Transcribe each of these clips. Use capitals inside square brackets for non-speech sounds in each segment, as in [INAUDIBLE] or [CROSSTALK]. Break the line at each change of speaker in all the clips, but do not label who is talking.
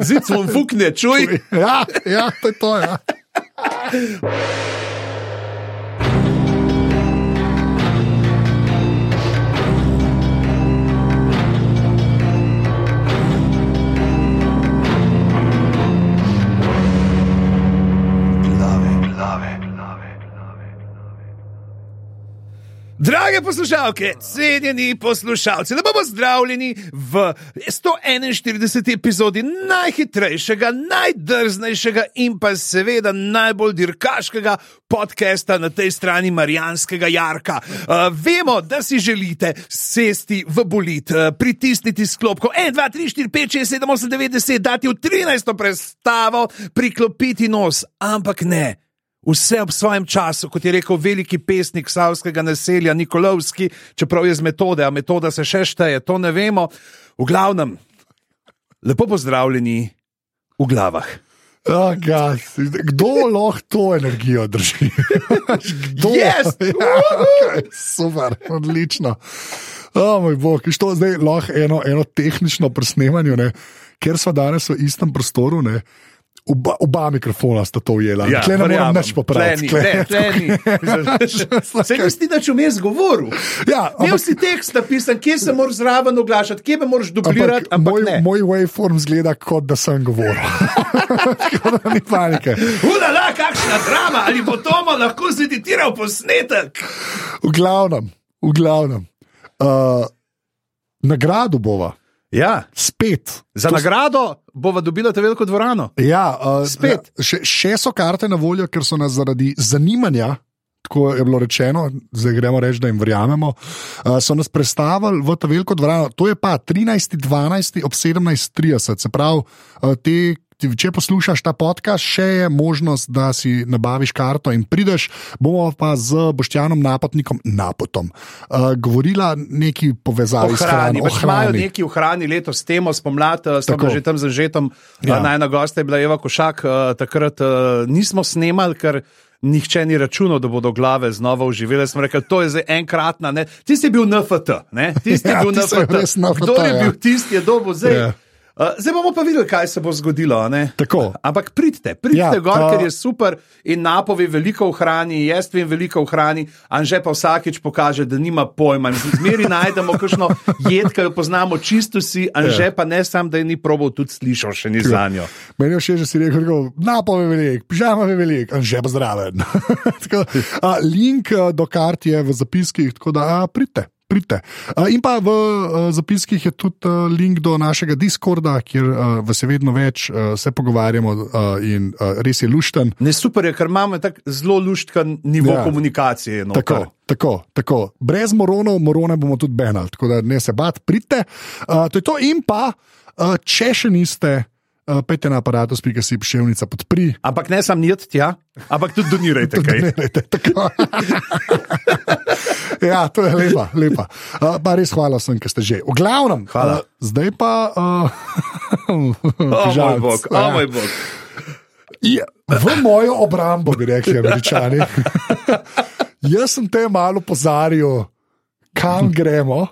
Zid smo fukne, čuj.
Ja, ja, to je to. Ja.
Drage poslušalke, cenjeni poslušalci, da bomo zdravljeni v 141. epizodi najhitrejšega, najdrznejšega in pa seveda najbolj dirkaškega podcasta na tej strani Marijanskega Jarka. Uh, vemo, da si želite sesti v bolit, uh, pritisniti sklopko 1, 2, 3, 4, 5, 6, 7, 8, 9, 10, dati v 13. predstavo, priklopiti nos, ampak ne. Vse ob svojem času, kot je rekel veliki pesnik savskega naselja Nikolovski, čeprav je z metode, a metoda se še šteje, to ne vemo. V glavnem, lepo pozdravljeni v glavah.
[LAUGHS] Oh, God. Kdo lahko to energijo [LAUGHS] drži? Kdo?
Yes!
[LAUGHS] Ja, okay, super, odlično. Oh, moj bog, in što zdaj lahko eno, eno tehnično presnemanje, ne? ker smo danes v istem prostoru. Ne? Oba, oba mikrofona sta to ujela. Ja, Tle ne morem več popraviti. Tle-
Pleni,
[LAUGHS]
Se mi zdi, da če vmes govoril.
Ja,
Imel
ampak-
si tekst napisan, kje se moraš zraven oglašati, kje me moraš duplirati,
Ampak
ampak
moj,
ne.
moj waveform zgleda kot da sem govoril. [LAUGHS] Tako da ni panike.
Ulala, kakšna drama, ali bo Tomo lahko zeditiral posnetek?
V glavnem, v glavnem. Uh, nagrado bova,
Ja,
spet.
Za nagrado bova dobila ta veliko dvorano.
Ja, uh,
Spet.
Ja, še, še so karte na voljo, ker so nas zaradi zanimanja. Tako je bilo rečeno, zdaj gremo reči, da jim verjamemo. Uh, so nas predstavili v ta veliko dvorano, to je pa 13.12. ob 17.30. Se pravi, uh, te, ti, če poslušaš ta podcast, še je možnost, da si nabaviš karto in prideš. Bomo pa z Boštjanom Napotnikom, Napotom, uh, govorila neki povezavi s
Ohrani,
hrano.
pač imajo neki ohrani letos temo, spomlad, eh, smo
Tako.
bili že tam z žetom.
Ja.
Ja. Najna gosta je bila Eva Košak, eh, takrat eh, nismo snemali, ker nihče ni računal, da bodo glave znova oživele. Smo rekli, to je zdaj enkratna. Ne? Tisti je bil NFT, ne? tisti je
[LAUGHS] Ja,
bil
ti so
NFT.
res NFT,
Kdo je
ja.
bil tisti, je dobo zdaj.
Ja.
Eh, Zdaj bomo pa videli, kaj se bo zgodilo. a ne.
Tako.
Ampak pridite, pridite
Ja,
ja, gor,
ta-
ta... ker je super in napovi veliko v hrani, jaz vem veliko v hrani, anže pa vsakič pokaže, da nima pojma. In Zmeri najdemo kakšno jed, ki jo poznamo čisto si,
Ja.
anže pa ne sam, da je ni probal, tudi slišal še ni za njo.
Meni je všeč, da si rekel, rekel napove velik, pižama je velik, in že bo zraven. [LAUGHS] tako, a, link a, do kart je v zapiskih, tako da a, pridite. Pridite. A, In pa v a, zapiskih je tudi a, link do našega Discorda, kjer a, vas je vedno več, a, se pogovarjamo a, in a, res je lušten.
Ne super je, ker imamo tak zelo luštkan nivo
Ja.
ja. komunikacije. No,
Tako, tako, tako. Brez moronov, morone bomo tudi benali, tako da ne se bat, pridite. Uh, to je to, in pa, uh, če še niste, uh, pejte na aparatus, pika si pševnica podpri.
Ampak ne sam njet tja, ampak tudi
[LAUGHS]
donirajte kaj.
Donirajte, tako. [LAUGHS] ja, to je lepa, lepa. Uh, pa res hvala vsem, ki ste že. V glavnem,
Hvala.
Uh, zdaj pa. [LAUGHS] Uh,
O moj
žalc,
bog, o
ja.
moj bog.
Je, v mojo obrambo, bi rekli
[LAUGHS]
američani. Jaz sem te malo pozaril, kam gremo.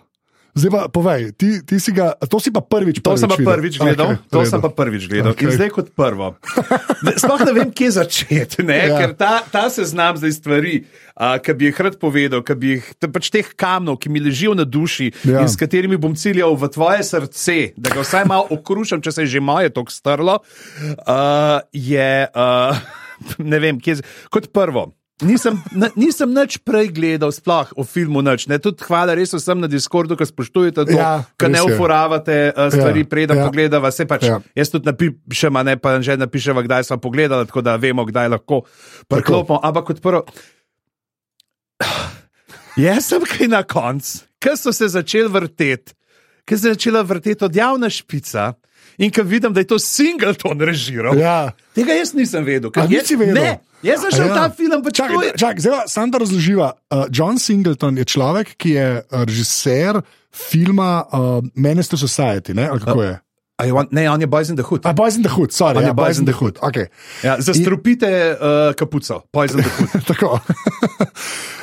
Zdaj pa povej, ti, ti si ga, to si pa prvič
To
prvič
sem pa
videl.
prvič gledal,
Okej,
okay, to
v redu.
sem pa prvič gledal. Okay. In
Okej.
zdaj kot prvo. Ne, Sploh ne vem, kje začeti, ne,
Ja.
ja. ker ta, ta seznam zdaj stvari, uh, ki bi jih rad povedal, ki bi jih, te, pač teh kamnov, ki mi ležijo na duši ja.
Ja.
in s katerimi bom ciljal v tvoje srce, da ga vsaj malo okrušam, če se je že moje tako strlo, uh, je, uh, ne vem, kje. z- Kot prvo. Nisem, na, nisem nič prej gledal, sploh o filmu. Nič, ne. Tudi hvala res vsem na Discordu, ki spoštujete to, ja,
Ja,
ki ne
res je.
uporabljate uh, stvari,
Ja,
ja, preden
ja.
ja. pogledava. Se pač, ja.
Ja.
Jaz tudi napišem, a ne pa že napišem, kdaj smo pogledali, tako da vemo, kdaj lahko preklopimo. Ampak kot prvo, [SIGHS] jaz sem kaj na koncu, ker so se začeli vrteti, ker se je začela vrteti odjavna špica in ker vidim, da je to Singleton režiral. Ja.
Ja.
Tega jaz nisem vedel. ker
A
jaz,
nisi vedel?
Ne, jaz sem šel v
A ja.
ja. ta film, pa čakaj.
Čakaj, čak, zdaj, pa samo da razloživa. Uh, John Singleton je človek, ki je uh, režiser filma uh, Menace to Society. Ne? ali Kako je?
A je on, ne, on je Poison the Hood.
A Boys in the Hood, sorry,
On je
ja,
Boys
Boys
in
in
the
the Hood. Okay.
Ja, zastrupite uh, kapuco, Poison the Hood.
[LAUGHS] Tako. [LAUGHS]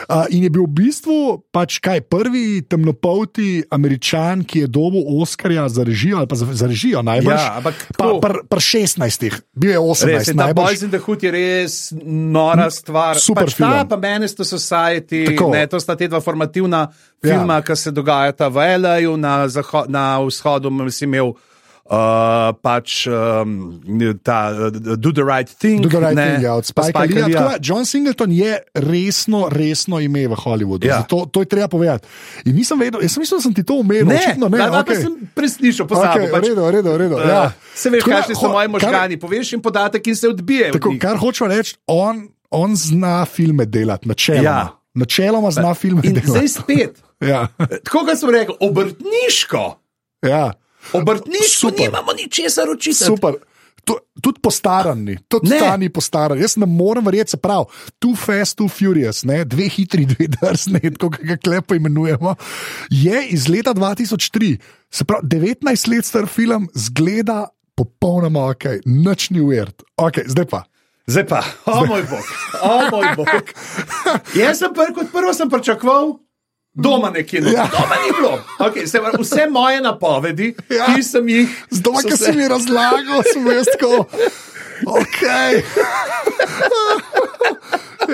Uh, In je bil v bistvu pač kaj prvi temnopolti američan, ki je dobil Oscarja za režijo, ali pa za, za režijo najbolj.
Ja, ampak
pa
tako.
pr, pr 16, bil je
Res,
18,
je, ta
najbolj.
Poison the Hood je res nora stvar.
super
pač ta
film.
pa Menace to Society,
Tako.
ne, to sta te dva formativna
Ja.
filma, ki se dogajata v L.A.ju, na, zaho- na vzhodu m- si imel. Uh, pač um, ta uh, Do the Right Thing,
Do the right
ne,
thing, ja, od
pa
Spike
Spikea
Leeja.
Leea.
Tako da, John Singleton je resno, resno ime v Hollywoodu.
Ja.
Ja. Zato, to je treba povedati. In nisem vedel, jaz sem mislil, da sem ti to omenil. očitno
Ne,
ne,
ne, ne,
okej.
okay. sem preslišal, pozabil. pač-
Okej, v redu, v redu, v redu, ja.
Se veš,
Tako da,
kakšni so
ho-
moji
kar-
možgani, poveš jim podatek in se odbije. od
Tako,
njih.
kar hočem reči, on, on zna filme delati, načeloma.
Ja.
Ja. Načeloma zna filme
In zdaj
[LAUGHS] delati.
spet,
Ja,
tako kot sem rekel, obrtniško,
ja.
obrtniško
Super.
nimamo ničesar učiti.
Super. Tu- Tudi postarani, tudi
Ne.
stani postarani. Jaz ne morem verjeti, se pravi, tu fast, tu furious, ne? dve hitri, dve drsni, tako kot ga klepo imenujemo. Je iz leta 2003, se pravi, 19 let star film, zgleda popolnoma ok, nič ni uvert. Ok, zdaj pa.
Zdaj pa, o moj bog, o moj
[LAUGHS]
bog. Jaz sem pr, kot prvo sem pričakoval. Doma nekje, no. ja.
Ja.
doma ni bilo. Okay, se, pravi, vse moje napovedi, ja.
Ja.
ki sem jih
Zdaj,
so se-
ki si mi razlagal, sem jaz tako.
[LAUGHS]
Okay.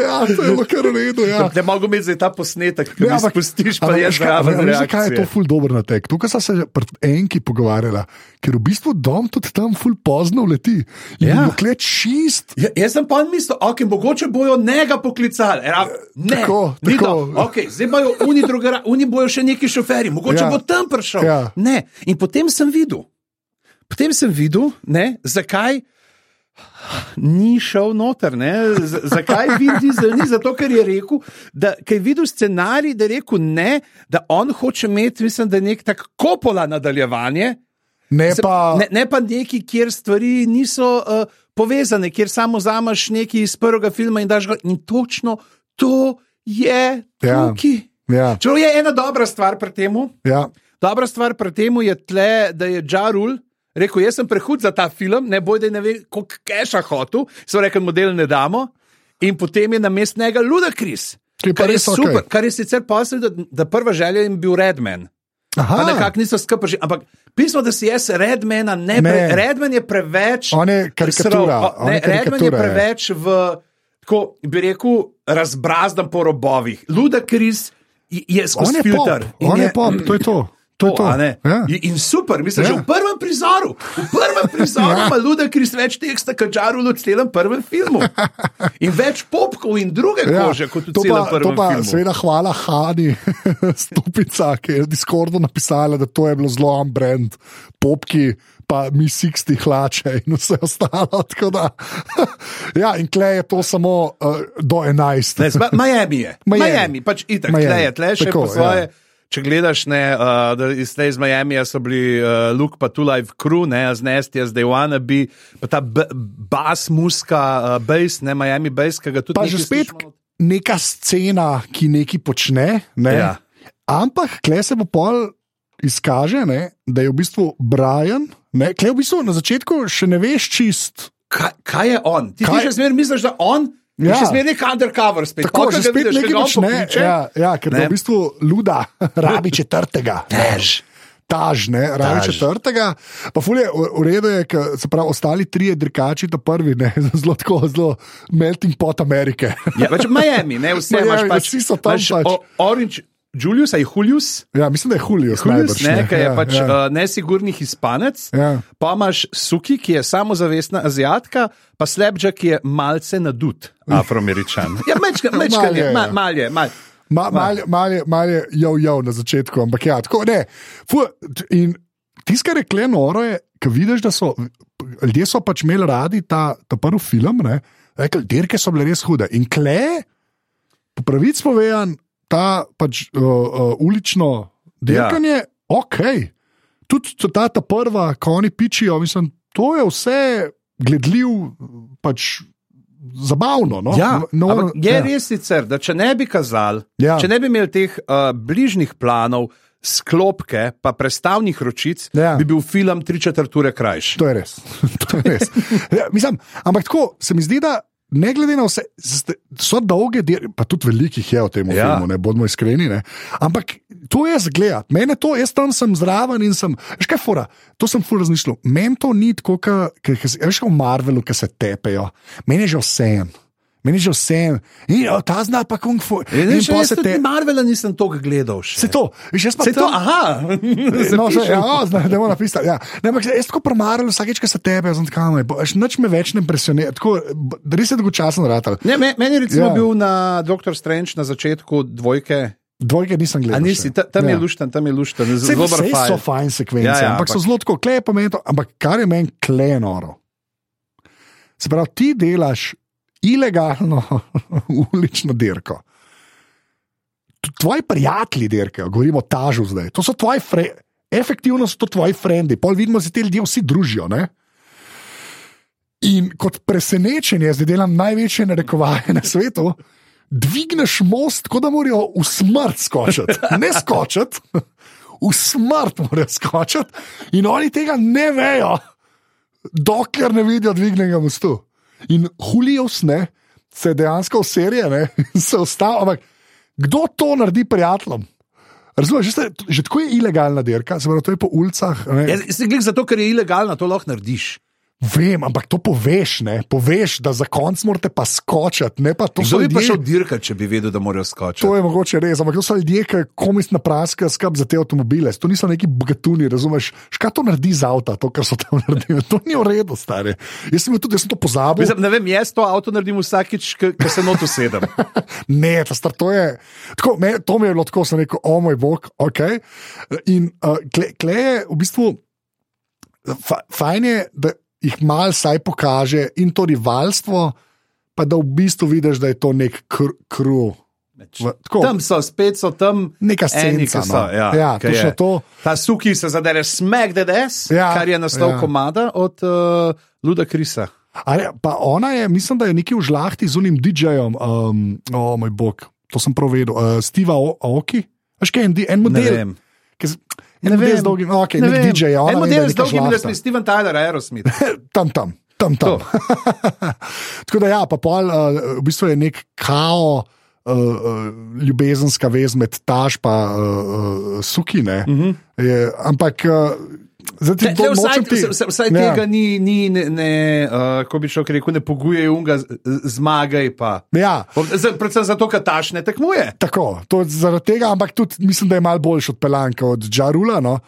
Ja, to je bilo kar v redu. Ja.
Ne mogo imeti zdaj ta posnetek, ki
Ne,
ga
ampak-
spustiš, pa
ampak
je
veš kaj-
zraven.
ampak veš, Zakaj je to
reakcije.
ful dobro na tek? Tukaj sta se pred enki pogovarjala, ker v bistvu dom tudi tam ful pozno leti.
Ja.
Ja. Dokler čist.
Ja, jaz sem pa mislil, ok, mogoče bojo njega poklicali. Era, ne,
Tako,
ni
tako.
do- Okay, zdaj bojo oni, drugera, oni bojo še neki šoferji, mogoče ja.
Ja.
bo tam prišel.
Ja.
Ne. In potem sem videl, potem sem videl ne, zakaj. Ni šel noter, ne? Z- zakaj vidi za ni? Zato, ker je rekel, da ker je videl scenarij, da je rekel ne, da on hoče imeti, mislim, da je nek tak kopola nadaljevanje,
Ne
Se-
pa.
Ne, ne pa neki, kjer stvari niso uh, povezane, kjer samo zamaš nekaj iz prvega filma in daš ga. In točno to je
Ja.
tukaj.
Ja,
Čeprav je ena dobra stvar pri tem,
ja,
dobra stvar pri tem je tle, da je Džarul. Rekel, jaz sem prehud za ta film, ne boj, da ne ve, koliko keša hotel, so rekli, model ne damo. In potem je na mest njega Ludakris.
Ki je pa
kar
res okej.
super, kar je sicer posel, da, da prva želja jim bil Redman. Pa
Aha,
nekako niso skupaj. Ampak pismo, da si jaz Redmana ne
Ne.
pre, Redman je preveč.
On je karikatura,
srov. O,
on
ne,
je
Redman je
karikatura, ja. je.
preveč v, tako bi rekel, razbrazdan po robovih. Luda Kris je
on
skozi
je pop,
filter. In
on je pop, to je to. To je to.
a ne?
Ja.
In super, mislim,
Ja.
že v prvem prizoru, v prvem prizoru ima Luda Kris več teksta, kot Čarul v celem prvem filmu. In več popkov in druge kože, kot v
Ja. to
celem
pa- to
prvem
pa,
filmu.
Seveda, hvala Hani [LAUGHS] Stupica, ki je v Discordu napisala, da to je bilo zelo on-brand, popki, pa mi siksti hlače in vse ostalo. [LAUGHS] tako Da, ja, in klej je to samo uh, do 11.
Ne, zba, Miami je. Miami,
Miami.
Miami pač itak,
Miami,
tle je, tle še
tako,
po svoje.
ja.
Če gledaš, ne, uh, da iz, tle iz Miamija so bili uh, Luke, pa tu live crew, ne, z Nestija, zdaj Wanna bi, pa ta b- bas, muska, uh, bass, ne Miami bass, ki ga tudi
pa
nekaj
že spet
slišimo.
neka scena, ki nekaj počne. Ne?
Ja.
Ampak klej se bo pol izkaže, ne, da je v bistvu Brian. Ne, klej v bistvu na začetku še ne veš čist.
Kaj, kaj je on? Ti, ti
Kaj-
še zmeraj misliš, da on ja. je
Ja.
še zmeraj nek undercover spet.
Tako
Pol, ko
že
ga
spet
vidiš,
nekaj
ko ga on
počne.
pokliče,
Ja, ja, ker
Ne.
ne. v bistvu luda [LAUGHS] rabi četrtega.
Tež.
Taž, ne, rabi
Taž.
četrtega. Pa fulje, v redu je, ker se pravi, ostali trije dirkači, ta prvi, ne, [LAUGHS] zelo tako, zelo melting pot Amerike.
Ja, pač Miami, ne,
[LAUGHS]
vse
Miami,
imaš pač.
Ja, vsi so tam
imaš,
pač.
O, Orange, Julius, aj Julius.
Ja, mislim, da je Julio
Hulis,
najbrž.
ne, ki je
ja,
pač
ja.
ja. uh, nesigurni hispanec,
Ja.
pa imaš Suki, ki je samozavestna azijatka, pa Slabja, ki je malce nadut afroameričan. [LAUGHS] Ja,
[LAUGHS]
mečka, mečka,
Malo
malje,
je,
ma,
ja.
malje, malje.
Ma, mal, mal, je- mal je jav na začetku, ampak ja, tako ne. Fu, t- in tiskar je kle noro, je, ki vidiš, da so ljudje so pač imeli radi ta, ta prvi film, ne, rekel, dirke so bile res hude. In kle, po pravici povedan, ta pač uh, uh, ulično dirkanje, ja. ok. Tudi t- ta, ta prva, ko oni pičijo, mislim, to je vse gledljiv, pač zabavno. No?
Ja,
no,
no, je ja. res sicer, da če ne bi kazali, ja.
Ja.
če ne bi imeli teh uh, bližnjih planov, sklopke, pa prestavnih ročic,
Ja.
ja. bi bil film tri četrt ure krajši.
To je res. [LAUGHS] to je res. Ja, mislim, ampak tako se mi zdi, da ne glede na vse, ste- so dolge, del, pa tudi velikih je v tem
Ja.
filmu, ne bomo iskreni. Ne? Ampak to je zgled, meni to, jaz tam sem zraven in sem, veš kaj fura, to sem fur razmišljal. Meni to ni tako, ka- ka- ka se- veš kaj v Marvelu, ki se tepejo, meni je že vse. Meni je že vse, in o, ta zna pa kung fu.
Ja,
In pol se te-
Marvela nisem toliko gledal.
Se to, veš, jaz pa
Se to,
tam-
aha, [LAUGHS]
No, še,
Zapišem.
ja, zdaj, da bomo napisali. Ja. Ne, ampak jaz tako promaril, vsakeč, ko se tebe, zdaj kam je, noč me več ne impresionira, tako b- res je dolgočasen ratal.
Ne, me- meni je recimo
Ja.
ja. bil na Doctor Strange na začetku dvojke.
Dvojke nisem
A
gledal.
nisi, ta- tam je lušten, tam je lušten,
Ja, Vse
zelo dober fajn.
so fajn sekvence, ja,
Ja,
ja,
ja,
ampak, ampak so
ampak-
zelo tako kleje pomenito, ampak kar je meni kleje noro. Se pravi, ti delaš ilegalno [LAUGHS] ulično dirko. T- Tvoji prijatelji dirkajo, govorimo o tažu zdaj. To so tvoji frendi, efektivno so to tvoji frendi, pol vidimo, da se ti ljudje vsi družijo. Ne? In kot presenečenje, zdaj delam največje narekovanje na svetu. Dvigneš most, tako da morajo v smrt skočiti, ne skočiti, v smrt morajo skočiti, in oni tega ne vejo, dokler ne vidijo dvignjenega mostu. In hulijo sne, se dejansko userje, ne, in se ostavi. Ampak kdo to naredi prijateljem? Razumeš, že, se- že tako je ilegalna dirka, se pravi, to je po ulicah. ne.
Jaz se gledam Ja, zato, ker je ilegalno, to lahko narediš.
Vem, ampak to poveš, ne? Poveš, da za konc morate pa skočiti, ne pa to
Kdo
so
bi
ljudje.
prišel dirkat, če bi vedel, da morajo skočiti?
To je mogoče res, ampak to so ljudje, ki komis napraska skrb za te avtomobile. To niso neki bogatuni, razumeš? Škaj to naredi z avta, to, kar so tam [LAUGHS] naredili. To ni v redu, stare. Jaz sem, bil tudi, jaz sem to pozabil.
Mislim, ne vem, jaz to avto naredim vsakič, ko se noto
[LAUGHS]
sedem.
Ne, ta star, to je. Tako, me, to mi je bilo tako, sem rekel, o moj bog, ok. In uh, kle, kle je v bistvu fa, fajn, je, da jih mal saj pokaže in to rivalstvo, pa da v bistvu vidiš, da je to nek kr, kru. V- tako.
Tam so, spet so tam.
Neka
eni,
senca,
ki so,
no.
ja,
ja
ki
točno
je.
to.
Ta suki se zadere smek DDS,
Ja,
ja, kar je naslov
ja.
ja. komada od uh, Luda Krisa.
Ali, pa ona je, mislim, da je nekaj v žlahti z unim DJ-jem, um, o moj bog, to sem prav vedel, uh, Steva O- Aoki. Veš kaj, en, di- en
Ne
model.
vem.
ki z- En model z dolgim, ok,
Ne
nek
vem.
DJ, ona
En
ve, da
model
je
z
neka
dolgim, da
žlahta.
smo Steven Tyler, Aerosmith.
tam, tam. tam,
To.
tam. [LAUGHS] Tako da, ja, pa pol, uh, v bistvu je nek kao. Uh, uh, ljubezenska vez med taš in uh, uh, sukine. Uh -huh. je, ampak, uh, zdaj ti
Te, te
to
Mhm. vsaj
nočem ti.
vse- vsaj
Ja.
tega ni, ni ne, ne uh, ko bi človek rekel, ne pogujejo unga, z- z- zmagaj pa.
Ja,
Z- Predvsem zato, ker taš ne tekmuje.
tako, to je zaradi tega, ampak tudi mislim, da je malo boljši od Pelanka, od Džarula. No.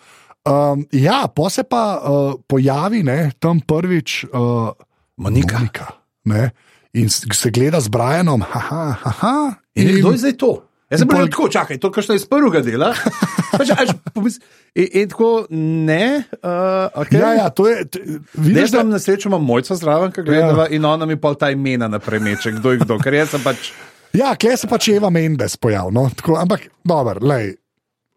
Um, ja, po se pa uh, pojavi ne, tam prvič. Uh,
Monika.
Monika ne, in s- se gleda z Brianom, haha, haha.
In, in kdo je zdaj to? Jaz sem
In
rekel,
pol-
tako čakaj, to je iz prvega dela. Pač, a veš, pomisli- in, in tako ne. Uh, okay.
Ja, ja, to je. t-
Ne,
Vidiš,
da
da,
na srečo imam mojco zraven, ki gledava ja. in ona mi pa ta imena na premeče, kdo je kdo, ker jaz sem pač.
ja, klej se pač Eva Mendes pojavlja. No? tako, Ampak, dober, lej.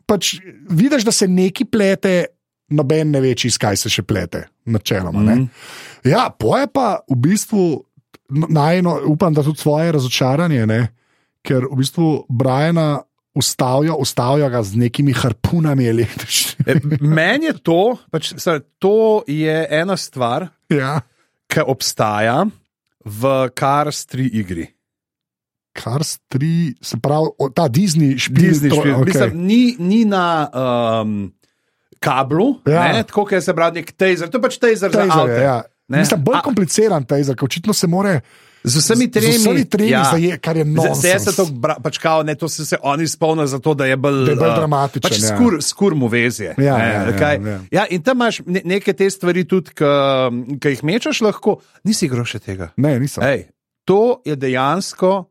Pač vidiš, da se neki plete, noben ne ve, iz kaj se še plete, načeloma. Mm
Mhm.
-hmm. Ja, poje pa v bistvu, n- najno, upam, da tudi svoje razočaranje, ne? ker v bistvu Briana ustavijo, ustavijo ga z nekimi harpunami električnimi.
E, Meni je to, pač, sorry, to je ena stvar,
Ja.
ki obstaja v Cars 3 igri.
Kar stri, se pravi, o, ta Disney špil.
Disney
to-
špil.
okej.
Mislim, ni, ni na um, kablu,
Ja.
ja. ne, tako kot je se bral nek taser, to je pač taser, taser za
Taser,
avto.
je, ja.
Ne?
Mislim, bolj
A-
kompliciran ta izrak, očitno se more.
Z vsemi tremi,
z vsemi tremi zaje- kar je nonsens.
Zdaj se to, bra- pač kao, ne, to so se oni spomnili zato, da je bolj,
Da je bolj
eh,
dramatičen,
Pač
ja.
skur, skur mu vezje.
Ja,
ne,
ja, ja,
kaj.
ja.
ja, in tam imaš ne, neke te stvari tudi, ki jih mečeš lahko, nisi igral še tega.
Ne, nisem.
Ej, to je dejansko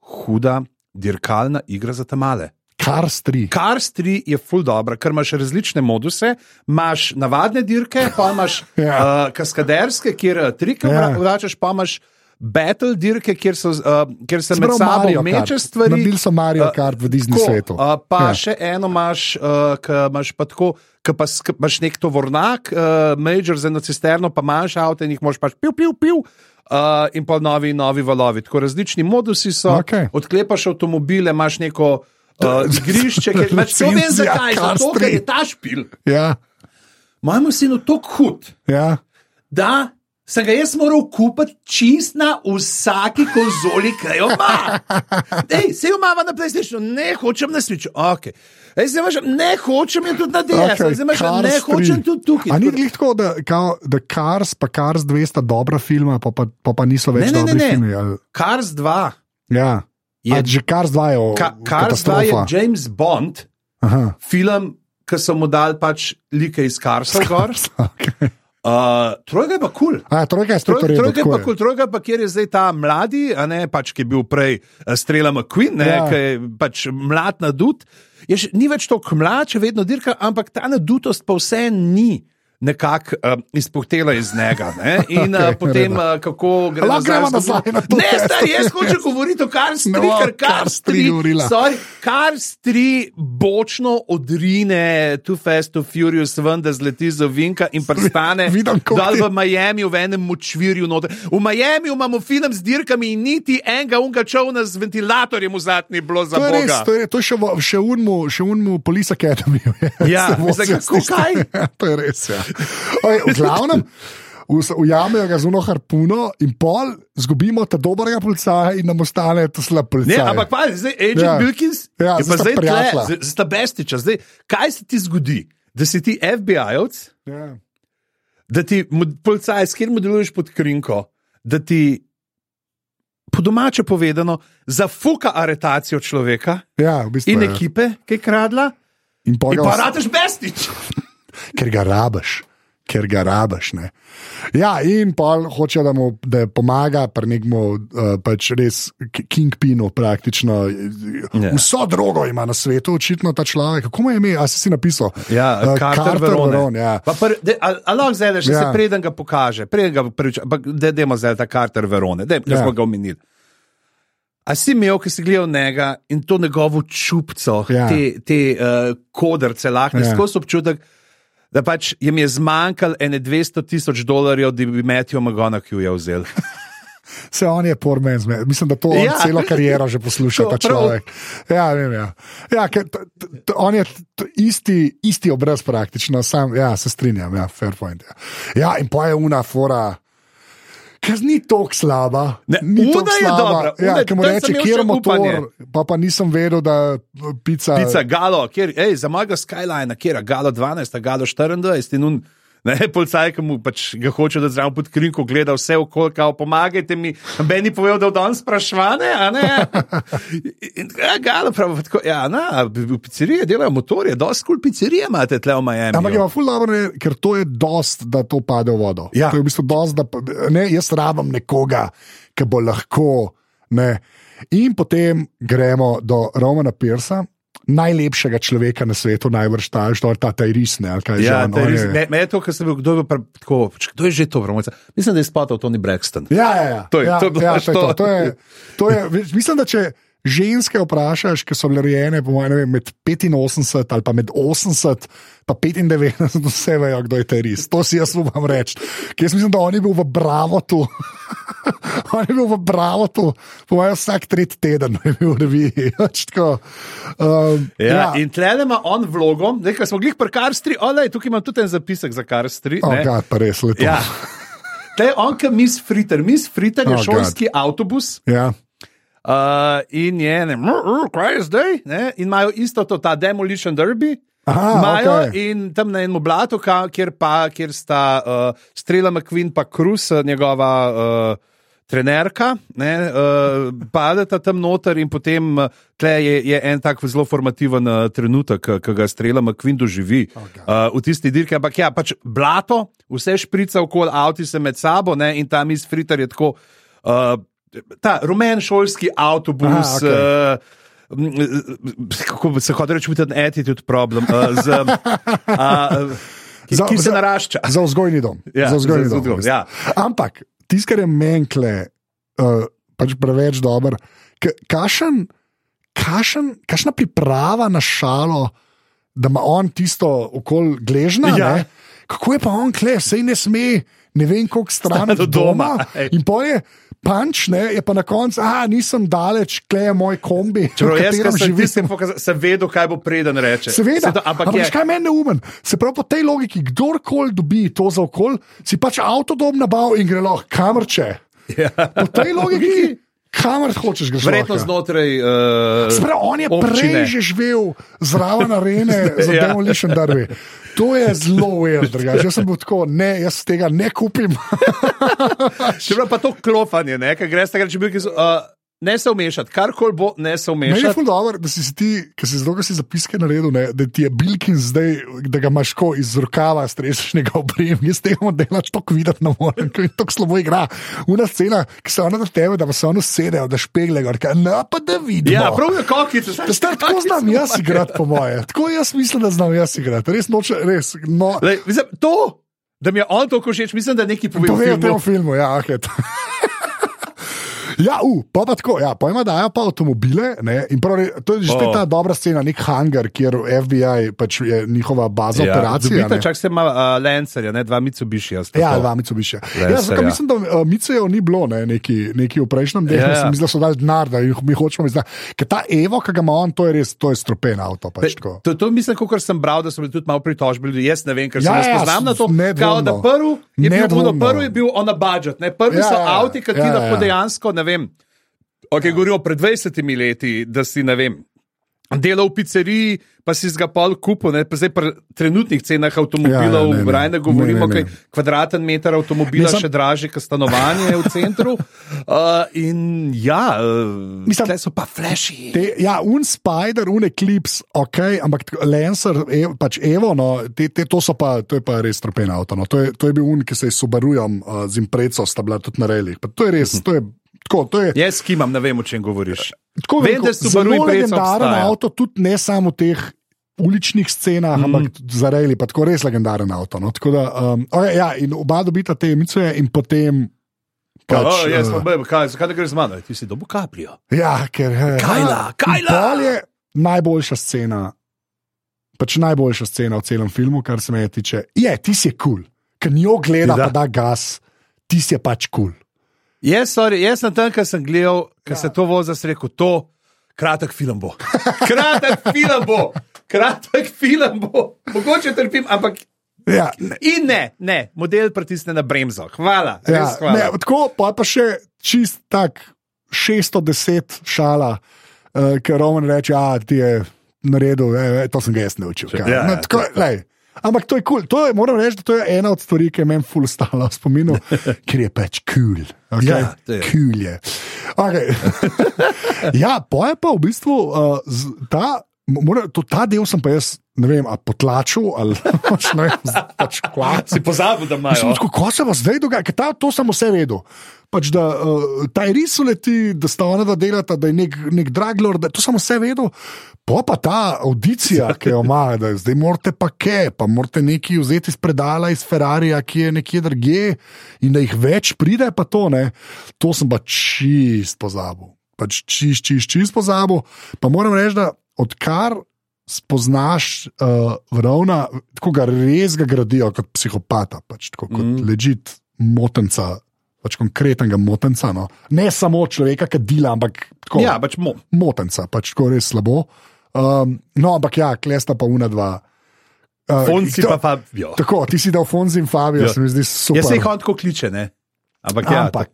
huda dirkalna igra za tamale.
Kar stri.
Cars 3 je full dobro, ker imaš različne moduse, imaš navadne dirke, pa
[LAUGHS]
imaš
Ja.
ja. uh, kaskaderske, kjer eh, trike
Ja.
ja. vračaš, pa imaš battle dirke, kjer, so, uh, kjer se med
pravi
sabo
Mario
meče
Kart.
stvari.
Naredili so Mario
Eh,
Kart v Disney
tako,
svetu.
eh, pa
Ja.
ja. še eno imaš, uh, ki imaš pa tako, ki pa s- ke imaš nek tovornak, uh, major za eno cisterno, pa manjše avto in jih moš pač pil, pil, pil. Uh, in pa novi, novi valovi. Tako različni modusi so,
Okej.
odklepaš avtomobile, imaš neko
[LAUGHS]
uh, igrišče, ker pač to vem
Recenzija
zakaj, zato
Cars
ker je
tri.
ta špil
Ja,
mojemu sinu tako hud,
ja.
da sem ga jaz moral kupiti čist na vsaki konzoli, ki jo ima. Ej, se jo imamo na PlayStationu, ne hočem na Switchu. Okay. Ej, zdaj imaš, ne hočem je tudi na DS, okay,
okej,
Ja, zdaj imaš,
Cars
ne
3.
hočem tudi tukaj.
A ni
Tako da-
glih tako, da, kao, da Cars pa Cars 2 sta dobra filma, pa pa, pa, pa niso
Ne, ne,
več
ne,
dobri
ne.
filmi. Ali,
Cars 2.
ja.
Je-
Je, že Cars 2 je o,
Ka Cars 2 je
katastrofa.
James Bond,
Aha, [LAUGHS]
film, ki so mu dali pač like iz Karsa.
[LAUGHS]
gor.
okay.
Uh, trojka je pa kul. Cool.
A, ja, trojka je
Troj,
spet rekel.
trojka je pa kul, trojka je pa kjer je zdaj ta mladi, a ne pač, ki je bil prej eh, Strela McQueen, ne,
Ja.
ja. ki je pač mlad na dud. Je še, ni več tako mlad, še vedno dirka, ampak ta nadutost pa vse ni. Nekako uh, izpuhtela iz njega.
[LAUGHS]
Ne? In okay, uh,
Okej,
potem,
v
uh, kako gre
Lahko gremo
zgodbo.
nazaj na to
Ne,
testo.
stari, jaz hočem govoriti o kar stri,
[LAUGHS] No,
no, ker kar
Cars tri
stri,
govorila.
sorry, kar stri bočno odrine Too Fast, Too Furious, ven, da zleti z ovinka in prstane
Vidim, koliko
dol
ti-
v v Miami, v enem močvirju noter. V Miami imamo film z dirkami in niti enega unga čovna z ventilatorjem v zadnji bilo za
To je res,
Boga.
to je, to je še, v- še unmu, še unmu Police Academy. [LAUGHS]
Ja, mislim, kako, kaj?
to je res. Ja. Oj, v glavnem, vs- ujamejo ga z uno harpuno in pol, zgubimo ta dobrega policaja in nam ostane ta
Ne,
slab policaj.
ampak pa, zdaj Agent
Ja.
ja. Wilkins
Ja,
je pa
zdaj sta
zdaj tle,
prijatelja.
zdaj sta bestiča. Zdaj, kaj se ti zgodi? Da si ti FBI-ovc,
Ja.
da ti mod- policaj, s katerim deluješ pod krinko, da ti, po domače povedano, zafuka aretacijo človeka
ja, v bistvu.
in
ja.
ekipe, ki je kradla,
In pol
in
ga
pa
os-
rataš bestič.
ker ga rabiš. Ker ga rabiš. Ne. Ja, in pol hoče, da mu da pomaga, pri nekmu uh, pač res ki- kingpinu, praktično.
Ja.
Yeah. Vso drogo ima na svetu, očitno ta človek. Kako mu je ime, a si si napisal?
Ja,
Eh,
Carter
Carter
Verone.
Veron, ja.
Pa pr- de- a- a lahko zdaj, še
Ja.
ja. se preden ga pokaže, preden ga prvič, ampak da demo zdaj ta Carter Verone, da
Ja.
ja. smo ga omenili. A si imel, ki si gledal njega in to njegovo čupco,
Ja.
ja. te, te uh, kodrce, lahko
Ja.
ja. skozi občutek, da pač jim je zmanjkalo ene 200 tisoč dolarjev, da bi Metijo Magonakjuja vzel.
Se on je pormen, zme- mislim, da to ja.
Ja.
celo kariero že posluša
To,
ta
prav.
človek. Ja, vem, ja. ja ker t, t, t, on je t, t, isti, isti obraz praktično, sam, ja, se strinjam, ja, fair point. Ja, ja in pa je una fora. Ker ni tako slaba,
Ne,
ni
Una
tako
je dobra,
slaba.
Una
Ja,
je-
ki mu
tam sem
reče,
imel
kjer
še upanje.
motor, pa, pa nisem vedel, da eh, pica.
Pica Galo, kjer, ej, za mojega Skylina, kjer je Galo 12, Galo 24 in un. Ne, policaj, ki mu pač ga hoče, da zraven pod krinko gleda vse okolje, kao pomagajte mi. Meni povedal, da je danes sprašvane, a ne. In, ja, galo pravi, tako, ja, na, v pizzerije delajo motorje, dosti kul cool pizzerije imate tle v Miami.
Ampak je pa ful dobro, ne, ker to je dost, da to pade v vodo.
Ja.
To je v bistvu dost, da pa- ne, jaz rabim nekoga, ki bo lahko. Ne. In potem gremo do Romana Pirsa, najlepšega človeka na svetu, najbrž ta, to je ta Tairis, ne, ali kaj že
Ja,
on,
to je
on
res.
no, je-
Me, me je to, kar sem bil, kdo je, bil prav, tako, pač, kdo je že to vromca. Mislim, da je spotal Tony Braxton.
Ja, ja, ja.
To je-
ja,
to je bilo
ja,
pač
to je to.
to.
To je- to je- veš, Mislim, da če ženske vprašaš, ki so bile rojene po mojem, ne vem, med 85 ali pa med 80 in 95, [LAUGHS] vse vejo, kdo je terorist. To si jaz upam reči. Ker jaz mislim, da on je bil v [LAUGHS] Bravotu. on je bil v Bravotu, po mojem, vsak tretji teden je bil v reviji. [LAUGHS] Pač tako, um,
Ja, ja. In tle ima on vlogo, nekaj smo glih pri Karstri, olaj, tukaj imam tudi en zapisek za Karstri.
Oh,
ne.
God, pa res lepo.
Ja. To je on, ki mis Fritter. Mis Fritter je
Oh,
oh, šolski God. avtobus
ja.
uh, in je, ne, "Mr, mr, kaj je zdaj? Ne? In imajo isto to, ta demolition derby.
Aha,
Imajo
okej.
in tam na enem blatu, ka- kjer, pa, kjer sta uh, Strela McQueen pa Krus, njegova uh, trenerka, ne, uh, padeta tam noter in potem uh, tle je, je en tak zelo formativen uh, trenutek, uh, ki ga Strela McQueen doživi
Oh,
uh, v tisti dirki. Ampak ja, pač blato, vse šprica okoli avti se med sabo ne, in tam iz Fritar je tako. Uh, Ta rumen šolski avtobus, eh,
Aha, okej.
Aha, okay. uh, m, m, kako bi se hotel reči, with an attitude problem, uh, z, uh, ki,
Za-
ki se
za-
narašča.
[LAUGHS] Za vzgojni dom.
Ja,
za vzgojni
za
dom.
vzgojni dom, ja.
Ampak tisto, kar je menkle, uh, pač preveč dober. K- Kašen, kašen, kašna priprava na šalo, da ima on tisto okolje gležna.
Ja.
ne? Kako je pa on kle, vse ne sme, ne vem koliko stran
Stran od
od
doma,
doma.
ej.
In pol je punč, ne, je pa na koncu, a nisem daleč, kleje moj kombi.
Čeprav
v
jaz,
katerem
ki sem
živim."
visel, sem vedel, kaj bo preden reče.
Seveda,
Se to- ampak
ampak
je,
veš, kaj je meni neumen. Se pravi, po tej logiki, kdorkoli dobi to za okolje, si pač avtodom nabav in gre lahko kamrče.
Ja.
Po tej logiki, kamr hočeš greš.
verjetno
lahko.
znotraj.
Se
Uh,
pravi, on je
občine.
prej že živel zraven arene
[LAUGHS]
za
Ja.
demolition derby. To je zelo weird, drugače. Jaz sem bil tako, ne, jaz tega ne kupim.
Če pa to klopanje, ne, kaj greš, takrat, če bi rekel, uh, ne se vmešati, karkoli bo, ne se
Meni je
vmešati.
ful dobro, da si si ti, ki si zelo si zapiske naredil, ne, da ti je Bilkin zdaj, da ga imaš ko iz rokava, stresiš njega obrem. Jaz tega modela tako videti ne morem, ker je tako slabo igra. Una scena, ki se ona do tebe, da pa se ono sedejo, da špegle gor, kaj, no pa da vidiš.
Ja, prav je kokice.
Da star, tako znam jaz igrati, po moje. Tako jaz mislim, da znam jaz igrati. Res noče, res. No,
Lej, mislim, to, da mi je on to všeč, mislim, da nekaj pove.
Povejo te v filmu, ja, ahet. [LAUGHS] Ja, u, pa, pa tako, ja, pojma, da imajo pa avtomobile. Ne, in prav, re- to je že spet
O.
ta dobra scena, nek hangar, kjer FBI pač je njihova baza ja, operacij.
Dobite, čak se ima uh, Lancerja, ne, dva Mitsubishi.
Ja, dva Mitsubiše. Ja, zato,
Lancer,
ker
ja.
mislim, da uh, Mitsujev ni bilo ne, neki, neki v prejšnjem delu,
Ja, ja.
yeah. mislim, da so dali denar, da jih mi hočemo izdati. Ker ta Evo, ki ga ima on, to je res, to je stropen avto. Pač, tako.
To, to mislim, kot sem bral, da so bili tudi malo pritožbi ljudi. Jaz ne vem, ker se
Ja,
ne
ja,
spoznam na to. Kao,
nedvomno.
da prvi je bil,
Nedvomno.
ono, prvi je bil on a budget, ne? prvi
Ja,
so
ja, ja.
avti, ki ti
Ja, ja,
lahko
ja.
dejansko, ne vem. Ok, govorijo pred 20 leti, da si ne vem. Delal v pizzeriji, pa si ga pol kupil, ne, pa zdaj pri trenutnih cenah avtomobilov,
Ja, ja, ne, ne.
raje ne govorimo,
Ne, ne,
kaj
ne.
kvadraten meter avtomobila
Mislim-
še dražji, kot stanovanje v
[LAUGHS]
centru. Uh, in ja, uh,
Mislim-
mislim, da so pa fleši.
Te, ja, un Spider, un Eclipse, ok, ampak tako, Lancer, ev, pač Evo, no, te, te, to, so pa, to je pa res trpen avto. No. To, je, to je bil un, ki se je subarujem uh, z impreco, sta bila tudi na relih. Pa To je
Mhm.
res, to je. Tako, to je
Jaz kimam, ne vem, o čem govoriš.
tako
Vem, da
rekel,
Ja, Subaru
zelo
impreca
legendaren
obstaja. Mhm.
avto, tudi ne samo v teh uličnih scenah, mm. ampak tudi za reli, pa tako res legendaren avto. No. Tako da, um, okay, ja, in oba dobita te Micuje in potem.
Pač,
Pač,
oh, jaz
eh,
pa bej, kaj, zakaj ne greš z mano? Ti si dobil kapljo.
Ja, ker je.
Kajla, Kajla!
Pol je najboljša scena, pač najboljša scena v celem filmu, kar se me tiče. Je, ti si kul, cool. ker njo gleda,
Da.
da. pa da gas, ti si pač kul. Cool.
Jaz, sorry, jaz na tem, kar sem gledal, ker ja. se to voza, sem rekel, to kratek film bo. [LAUGHS] Kratek film bo, kratek film bo. Mogoče trpim, ampak.
Ja, ne,
In ne, ne, model pritisne na bremzo. Hvala.
ja,
Res hvala.
ne, tako pa, pa še čist tak 610 šala, uh, ker Roman reče, a ti je naredil, e, e, to sem ga jaz naučil. kaj."
Ja,
no,
ja,
tako, lej, Ampak to je kul, cool. to je, moram reči, da to je ena od stvari, ki je meni ful stala v
[LAUGHS]
spominu, ker je pač kul. Cool, okay?
Ja, to je.
Kul je. Okay.
[LAUGHS]
ja, poje pa v bistvu uh, z- ta. mo- Mora, to, ta del sem pa jaz, ne vem, ali potlačil ali [LAUGHS] pač, ne vem, z- pač
Si
kvaci.
pozabil, da
Mislim,
imaš.
tako, ko se pa zdaj dogaja, ker ta, to sem vse vedel. Pač, da uh, ta res uleti, da sta ona dva delata, da je nek, nek draglor, da to sem vse vedel. Pa pa ta audicija, ki jo ima, da zdaj morate pa kje, pa morate nekaj vzeti iz predala, iz Ferrarija, ki je nekje drugje in da jih več pride, pa to ne. To sem pa čist pozabil. Pač čist, čist, čist pozabil. Pa moram reči, da odkar spoznaš uh, vrona, tako ga res ga gradijo kot psihopata, pač, tako, kot
Mhm.
mm. ležit motenca, pač konkretnega motenca. No. Ne samo človeka, ki dela, ampak tako,
Ja, pač mo.
motenca, pač tako res slabo. Um, no, ampak ja, klesta pa una dva. Uh,
Fonci
kdo-
pa Fabio.
Tako, ti si dal Fonzi in
Ja.
Fabio, se mi zdi super.
Jaz se jih on tako kliče, ne. Ampak, ja, ampak.
Ampak,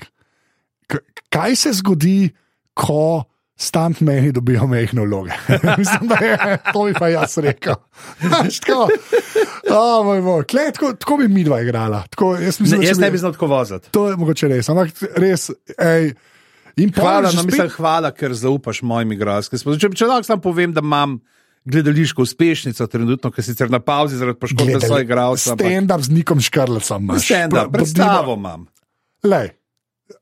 Ja, k- kaj se zgodi, ko stuntmeni dobijo mehne vloge? [LAUGHS] Mislim, da je to bi pa jaz rekel. [LAUGHS] Znaš, tako, oh, moj bog, Glej, tako, tako bi mi dva igrala. Tako, jaz
ja.
mislim,
Ne,
da,
jaz
če
ne bi
bi,
znal tako voziti.
to je mogoče res, ampak res. Ej, in pol
Hvala,
že
no,
spet-
mislim, hvala, ker zaupaš mojim igralskim sposobnostim. Če, če lahko sam povem, da imam gledališko uspešnico trenutno, ki je sicer na pauzi zaradi poškodbe
Gledali-
svojega igralca. ampak-
Stand-up z nikom škrlecem.
Stand-up, predstavo imam.
Lej,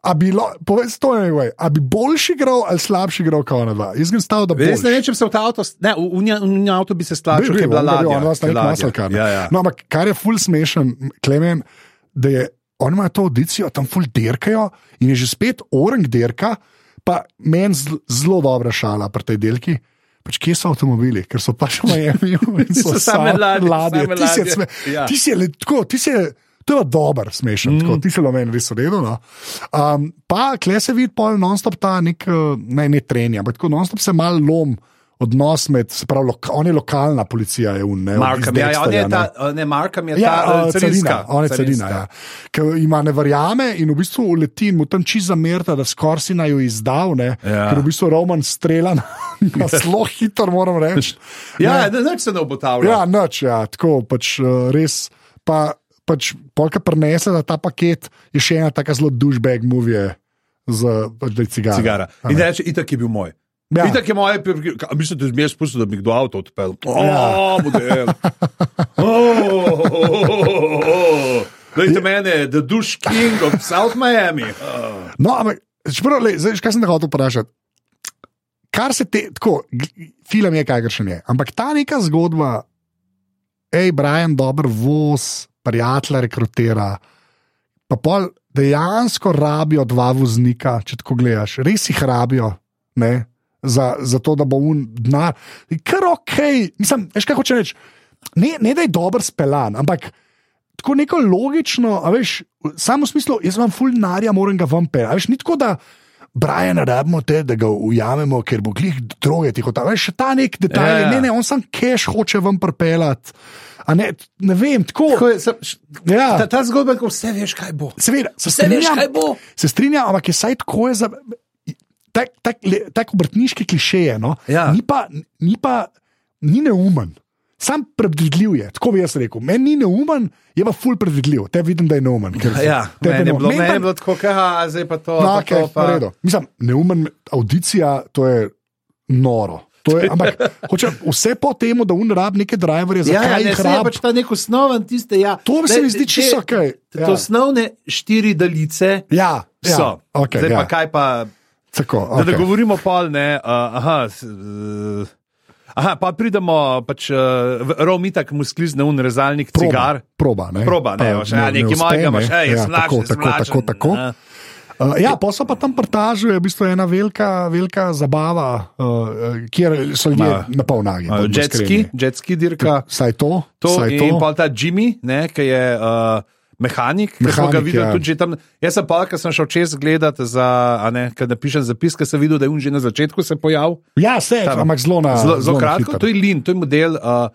a bi, lo- povej, to je, anyway, a bi boljši igral ali slabši igral kot ona dva? Jaz sem stal, da bi.
Jaz ne vem, če bi se v ta avto, s- ne, v, v, nja- v, nja avto bi se stlačil,
Bil,
ker je bila
bil, on je bil,
ladja.
on vas
ker
na
je
nek
ladja.
maselkar. ne.
Ja, ja.
No, ampak kar je ful smešen, Klemen, da je, oni imajo to audicijo, tam ful dirkajo in je že spet orang dirka, pa meni zl- zelo dobra šala pri tej delki. Pač kje so avtomobili, ker so pač v Miami in
[LAUGHS]
so
So same
same
ladje,
ladje.
same
Ti si je
ladje.
sme-
Ja.
Ti si je le- tako, ti si je To je pa dober, smešen, mm. tako, ti se lo meni res redo. No. Um, pa kle se vidi, pol non-stop ta nek, eh, ne, ne trenja, ampak tako non-stop se mal lom. Odnos med, se pravi, loka, on je lokalna policija, E je unne.
Markam, ja, ja, on je ta, eh, ne, Markam je ta
Ja,
eh,
eh, carina,
carinska.
on je carina. Ja. Ker ima ne verjame in v bistvu uleti in mu tam čist zamerta, da skoraj si naj jo izdal, ne,
Ja.
ker v bistvu Roman strela na,
[LAUGHS]
na zelo hitro, moram reči.
Ja, ne, nič se ne obotavlja.
Ja, noč, ja, tako pač eh, res. Pa, pač, polka prenese ta paket, je še ena tako zelo dušbeg movie. Z pač, da je cigara.
cigara. In reče, itak je bil moj.
Ja.
Ja. Itak je moje, pri- ka- mislim, da bi jaz spustil, da bi kdo avto odpeljal.
Ja.
O,
[LAUGHS]
model. O, Dajte mene, the douche king of South Miami. Oh.
No, ampak, čeprav, le, zdaj, kaj sem te hotel vprašati? Kar se te, tako, gl- film je, kakršen je. Ampak ta neka zgodba, hej, Brian, dober voz, prijatelja rekrutira. Pa pol dejansko rabijo dva voznika, če tako gledaš, res jih rabijo. Ne? Za, za to, da bo un denar. Ker ok, mislim, veš kaj hoče reči. Ne, ne da je dober speljan, ampak tako neko logično, a veš, samo v smislu, jaz imam fulnarja, moram ga vam pel. Veš, ni tako, da Brajana rabimo te, da ga ujamemo, ker bo glih droge tih otav. Veš, še ta nek detajl,
Ja,
yeah.
ja.
ne, ne, on sam keš hoče vam prepelati. A Ne, ne vem, tako. Ja.
Ta, ta zgodba, ko vse veš, kaj bo.
Seveda, se
Vse veš,
strinjam,
kaj bo.
Se strinjam, ampak je saj tako je za. Tak, tak, le- tak obrtniški klišeje, no?
Ja.
ni, pa, ni pa ni neumen. Sam predvidljiv je, tako bi jaz rekel. Meni ni neumen, je pa ful predvidljiv. Te vidim, da je neumen. ker-
Ja,
te
meni je
neumen.
bilo,
Meni pa-
meni je bilo tako, kaj, zdaj pa to.
No,
pa to,
okay,
pa-
pa... Mislim, neumen audicija, to je noro. To je,
[LAUGHS]
ampak hoče, vse po temu, da unrab neke driverje,
Ja,
zakaj
ja, ne,
jih
saj je
rab.
pač ta nek osnoven tiste, ja.
To se
Daj,
mi zdi
te-
čisto okej, ja.
te Osnovne štiri daljice
Ja, ja,
so.
okay,
Zdaj
ja,
pa kaj pa.
tako,
Da ne
okay.
govorimo pol, ne. Uh, aha, s- uh, aha, pa pridemo, pač uh, Rom itak mu sklizne un rezalnik proba. cigar.
Proba, ne.
Proba, ne,
Pa
boš, ja, nekaj
uspe,
mojega imaš,
ne.
ej,
ja,
smlažen,
tako, tako,
smlažen,
tako, tako.
ne.
Uh, ja, pa so pa tam prtažu, je v bistvu ena velika, velika zabava, uh, kjer so ljudje
Ma-
na pol nagi.
Uh,
bodimo
Jetski,
iskreni.
jetski dirka.
Saj to,
To
saj
in pa ta Jimmy, ne, ki je uh, mehanik, ki smo ga
Mehanik,
videli ja.
ja.
tudi že tam. Jaz sem pa, ker sem šel čez gledati, ker napišem zapis, ker sem videl, da je on že na začetku se pojavil.
Ja, se,
Tam.
ampak zelo na.
Zelo,
na
zelo kratko,
hitro.
to je Lin, to je model, uh,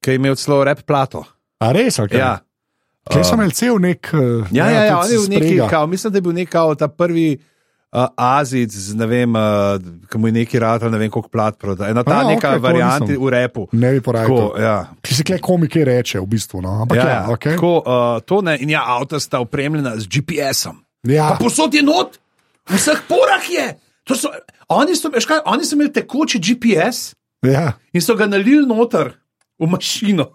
ki je imel celo rep plato.
A res, ok.
Ja.
Kaj sem imel cel nek. eh,
Ja, ja, ja, on
tudi
je v neki,
sprega.
kao, mislim, da je bil nek kao, ta prvi uh, Azic, z, ne vem, uh, ki mu je neki rata, ne vem koliko plat proda. Ena ta
A,
A, neka
okej, to
okay, varianta
nisem.
v repu.
Ne bi porajal.
Tako, ja.
Ki se kle komike reče, v bistvu. No. Ampak
Ja,
ja,
ja,
ja, okay.
tako, uh, to ne, in ja, avto sta opremljena z GPS-om.
ja.
Pa posod je not, v vseh porah je. To So, oni, so, veš kaj, oni so imeli tekoči GPS
ja.
in so ga nalili noter v mašino.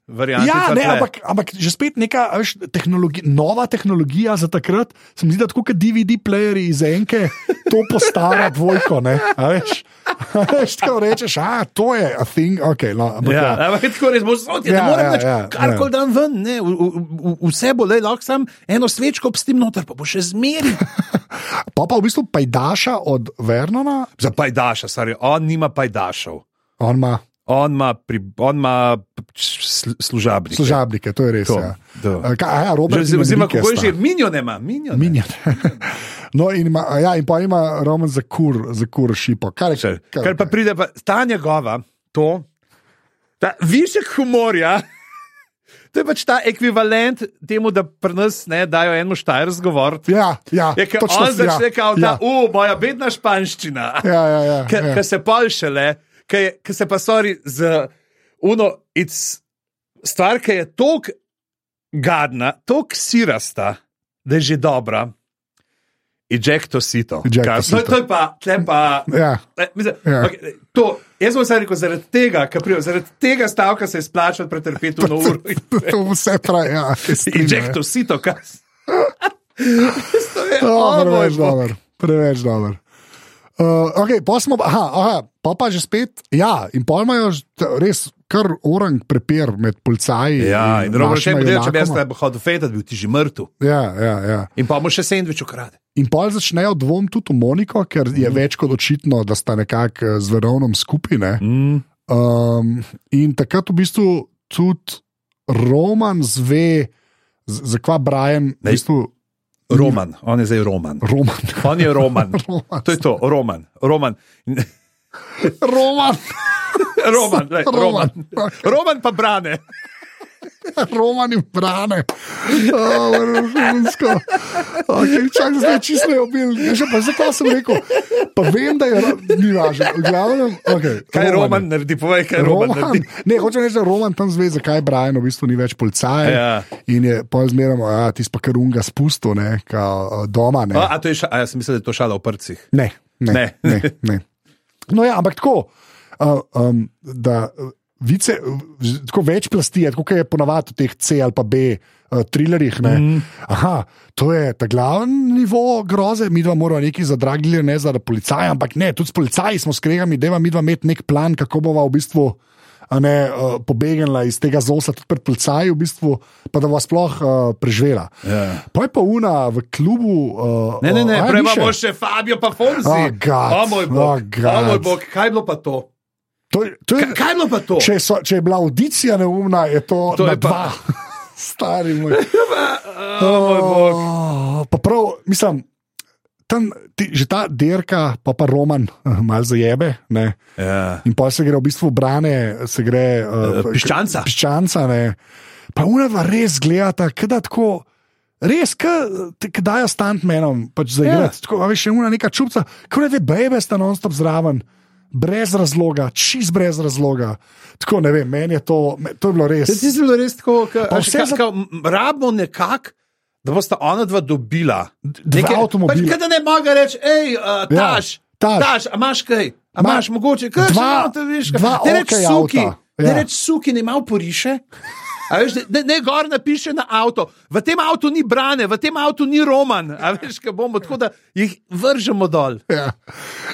verjamem.
Ja, ne, ampak, ampak že spet neka a veš, tehnologi nova tehnologija za takrat. Se mi zdi, da tako kot DVD-plejeri iz enke, to postara dvojko. Ne, a veš, a veš, tako rečeš, a to je a thing, ok. No, ampak, ja, ja.
Ja, ampak je tako res, možnost je, da
Ja,
moram
ja,
več,
ja,
kar
ja.
kol dan ven, ne, v, v, v, vse bo, lej, lahko sam eno svečko obstim noter, pa bo še zmeri.
Pa pa v bistvu pajdaša od Vernona,
[LAUGHS] Za pajdaša, stari, on nima pajdašev,
on ima
on ima, pri, on ima s- služabnike.
služabnike, to je res.
To,
ja.
to.
A, Kaj, a ja, Robert, in
Oziroma,
Enrique
kako je
sta.
že, minjo nema, minjo.
Minjan. [LAUGHS] No, in, ima, a ja, in pa ima Roman za kur, za kur šipo. Kar, je- kar,
Ker pa pride pa ta njegova, to, ta višek humorja. [LAUGHS] To je pač ta ekvivalent temu, da pri nas ne dajo eno štajrsko govor.
Ja, ja,
Je, ker
točno,
on začne
ja,
kao,
ja.
da, o, moja bedna španščina. [LAUGHS]
Ja, ja, ja,
Ker
ja.
ker se pol šele, ker ker se pa sori z uno, it's stvar, ki je tok gadna, tok sirasta, da je že dobra. Ejecto sito.
Ejecto
Kar-
sito.
No, to je pa, tle pa.
Ja. [LAUGHS]
E, Mislim,
Ja.
ja. okay, to, jaz bom samo rekel, zaradi tega, ker prijo, zaradi tega stavka se je splačalo pretrpeti v nov uro.
To vse traja.
[LAUGHS]
Ja, se strinjam,
Injekto
ja.
vsi to, kar [LAUGHS] se. To je, o
O,
moj
Preveč
bog.
dober, preveč dober. Uh, Uh, okay, pa smo, aha, aha, pa pa že spet, ja, in pa imajo ž- t- res kar orang prepir med policaji.
Ja, in drugo še
našima
model, če bi jaz
junakoma.
tebe hodil fetat, bil ti že mrtev.
Ja, ja, ja.
In pa mu še sendvič ukrade.
In pol začnejo dvom tudi v Moniko, ker je
Mhm.
več kot očitno, da sta nekako eh, z verovnom skupine.
Mm.
Um, in takrat v bistvu tudi Roman zve, z- zakva Brian, v
Lej.
bistvu
Roman, on je zdaj Roman.
Roman. [LAUGHS]
On je Roman.
Roman.
To je to, Roman. [LAUGHS] Roman,
Roman, [LAUGHS]
Roman, lej, Roman.
Roman.
Roman pa brane.
Roman in brane. Oh, vrhunsko. okay, čak, zdaj čisto je obil. Ja, Še pa zakaj sem rekel? Pa vem, da je ro- ni važno. V glavnem, Okay,
Kaj Roman naredi, povej, kaj Roman naredi.
ne, hočem reči, da Roman tam zve, zakaj Brian v bistvu ni več policaj.
Ja.
In je pa zmerno, da ti pa kar unga spustil, ne, kao, a, doma. Ne.
A, a, to je ša, a jaz sem mislil, da je to šala v prcih.
Ne, ne,
Ne.
ne. ne, ne. No, ja, ampak tako, uh, um, da uh, vice, uh, z- tako več plasti je, tako kot je ponavadi v teh C ali pa B uh, trilerjih.
Mhm.
Mm. Aha, to je ta glavni nivo groze, mi dva moramo neki zadragili, ne za policaja, ampak ne, tudi s policaji smo skregani, da imamo mi dva imeti nek plan, kako bova v bistvu. a Ne, uh, pobegnila iz tega zosa, tudi pred policaji, v bistvu, pa da vas sploh uh, preživela.
Ja.
Pa je pa una v klubu. Uh,
Ne, ne, ne,
a, a,
prej
ni še?
imamo še Fabio, pa Fonzi.
Oh, God.
O moj bog,
Oh, God.
o moj bog, kaj je bilo pa to?
To, je- to je,
Kaj, kaj je bilo pa to?
Če, so, če je bila audicija neumna, je to,
To
to
je
je
pa-
dva. [LAUGHS] Stari moj.
O moj bog.
Pa prav, mislim, tam, ti, že ta derka, pa pa Roman, [LAUGHS] malo zajebe. Ne?
Ja.
In pa se gre v bistvu brane, se gre uh,
Eh, piščanca.
piščanca ne. Pa unava res gledata, kada tako. Res, ki dajo stantmenom, pač za
Ja.
igrati. Ja. Tako, a veš, še ena neka čupca, kot da bebe sta non-stop zraven, brez razloga, čist brez razloga. Tako ne vem, meni je to, me- to je bilo res.
Zdaj Ja, si bilo res tako,
Pa
da
vse za-
rabimo nekako. Da bosta ona dva dobila
dva avtomobila.
Pač, kaj da ne moga reči, hej, uh,
Ja,
taš, ja,
Taš.
taš, a imaš kaj, a
Ma-
imaš mogoče, kaj še
dva-
imamo, veš,
dva
kaj reč
okej
suki,
avta,
ne
ja.
reč suki, ne malo poriše. A Veš, ne, ne gor napiše na avto, v tem avtu ni brane, v tem avtu ni roman, a veš, kaj bomo, tako da jih vržemo dol.
Ja.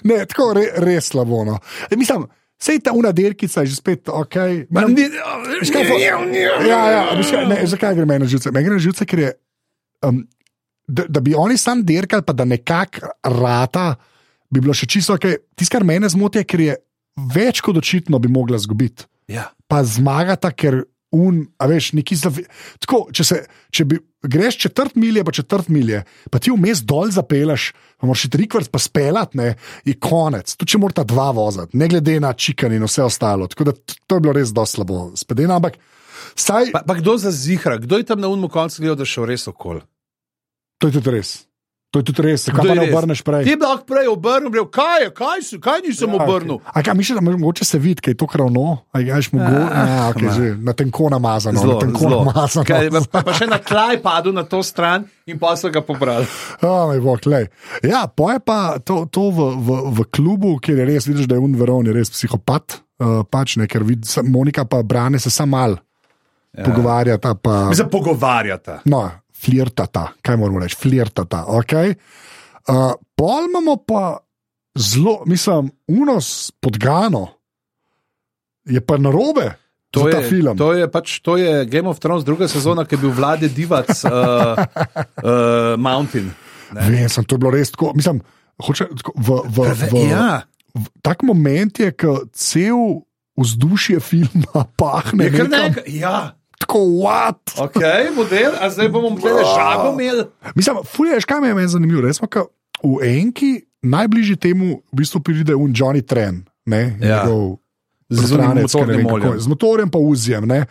Ne, tako re, res slabo. No. E, mislim, sej ta una derkica je že spet ok.
Pa
Mislim,
ni-
Ja. Veš kaj, fo- Ja, ja, veš kaj, ne, zakaj gre meni na živce? Meni gre na živce, ker je. Um, da, da bi oni sam dirkali, pa da nekako rata, bi bilo še čisto ok. Tisto, kar mene zmoti, je, ker je več kot očitno bi mogla zgubiti.
Ja.
Pa zmagata, ker un, a veš, neki zavi. Tako, če, se, če bi, greš četrt milje, pa četrt milje, pa ti vmes dol zapelaš, pa moraš še trikvrt pa spelat, ne, je konec. Tu če morata dva voziti, ne glede na čikan in vse ostalo. Tako da t- to je bilo res dosti slabo, spedeno, ampak. Saj,
Pa, pa kdo zazihra, kdo je tam na unmu koncu gledal, da je šel res okol?
To je tudi res. To je tudi res, se kaj
Kdo
pa
je
ne
res?
obrneš
Ti
prej.
bi lahko prej obrnil, rekel, kaj je, kaj, si, kaj nisem ja, obrnil.
Okay. A kaj misliš, da mogoče se vidi, kaj je to kravno? A je ješ mogo?
Ah,
Ah, okay,
ma.
že, na tenko namazano.
Zelo,
na tenko
zelo.
namazano.
Kaj, pa, pa še na tlaj padel na to stran in pa so ga pobrali.
Oh, bog, glej. ja, poje pa to, to v, v, v klubu, kjer je res vidiš, da je unveron, je res psihopat. Uh, pač ne, ker vidi, sa- Monika pa brane se samo mal, ja. pogovarjata pa.
Se pogovarjata.
No, flirtata, kaj moramo reči, flirtata. Okay? Uh, pol imamo pa zelo, mislim, unos podgano, je pa narobe.
To
za ta
je,
film.
to, je pač, to je Game of Thrones druga sezona, ki je bil vlade divac uh, uh, Mountain.
Vem, sem, to je bilo res tako. Mislim, hoče, tako v, v, v,
Ja,
v tak moment je, ko cel vzdušje filma pahne.
je kar
nekam,
nekaj. Ja,
Tako, what?
ok, model, a zdaj bomo gledali žago imeli.
Mislim, fulje, kaj me je meni zanimivo. Resmo, ka v enki najbližji temu v bistvu pride un Johnny Tren. Ne, in
Ja.
njegov
Z zunim
bratranec, ki ne
motornim
vem, kako
oljem.
je, Z motorjem pa uzijem. Ne.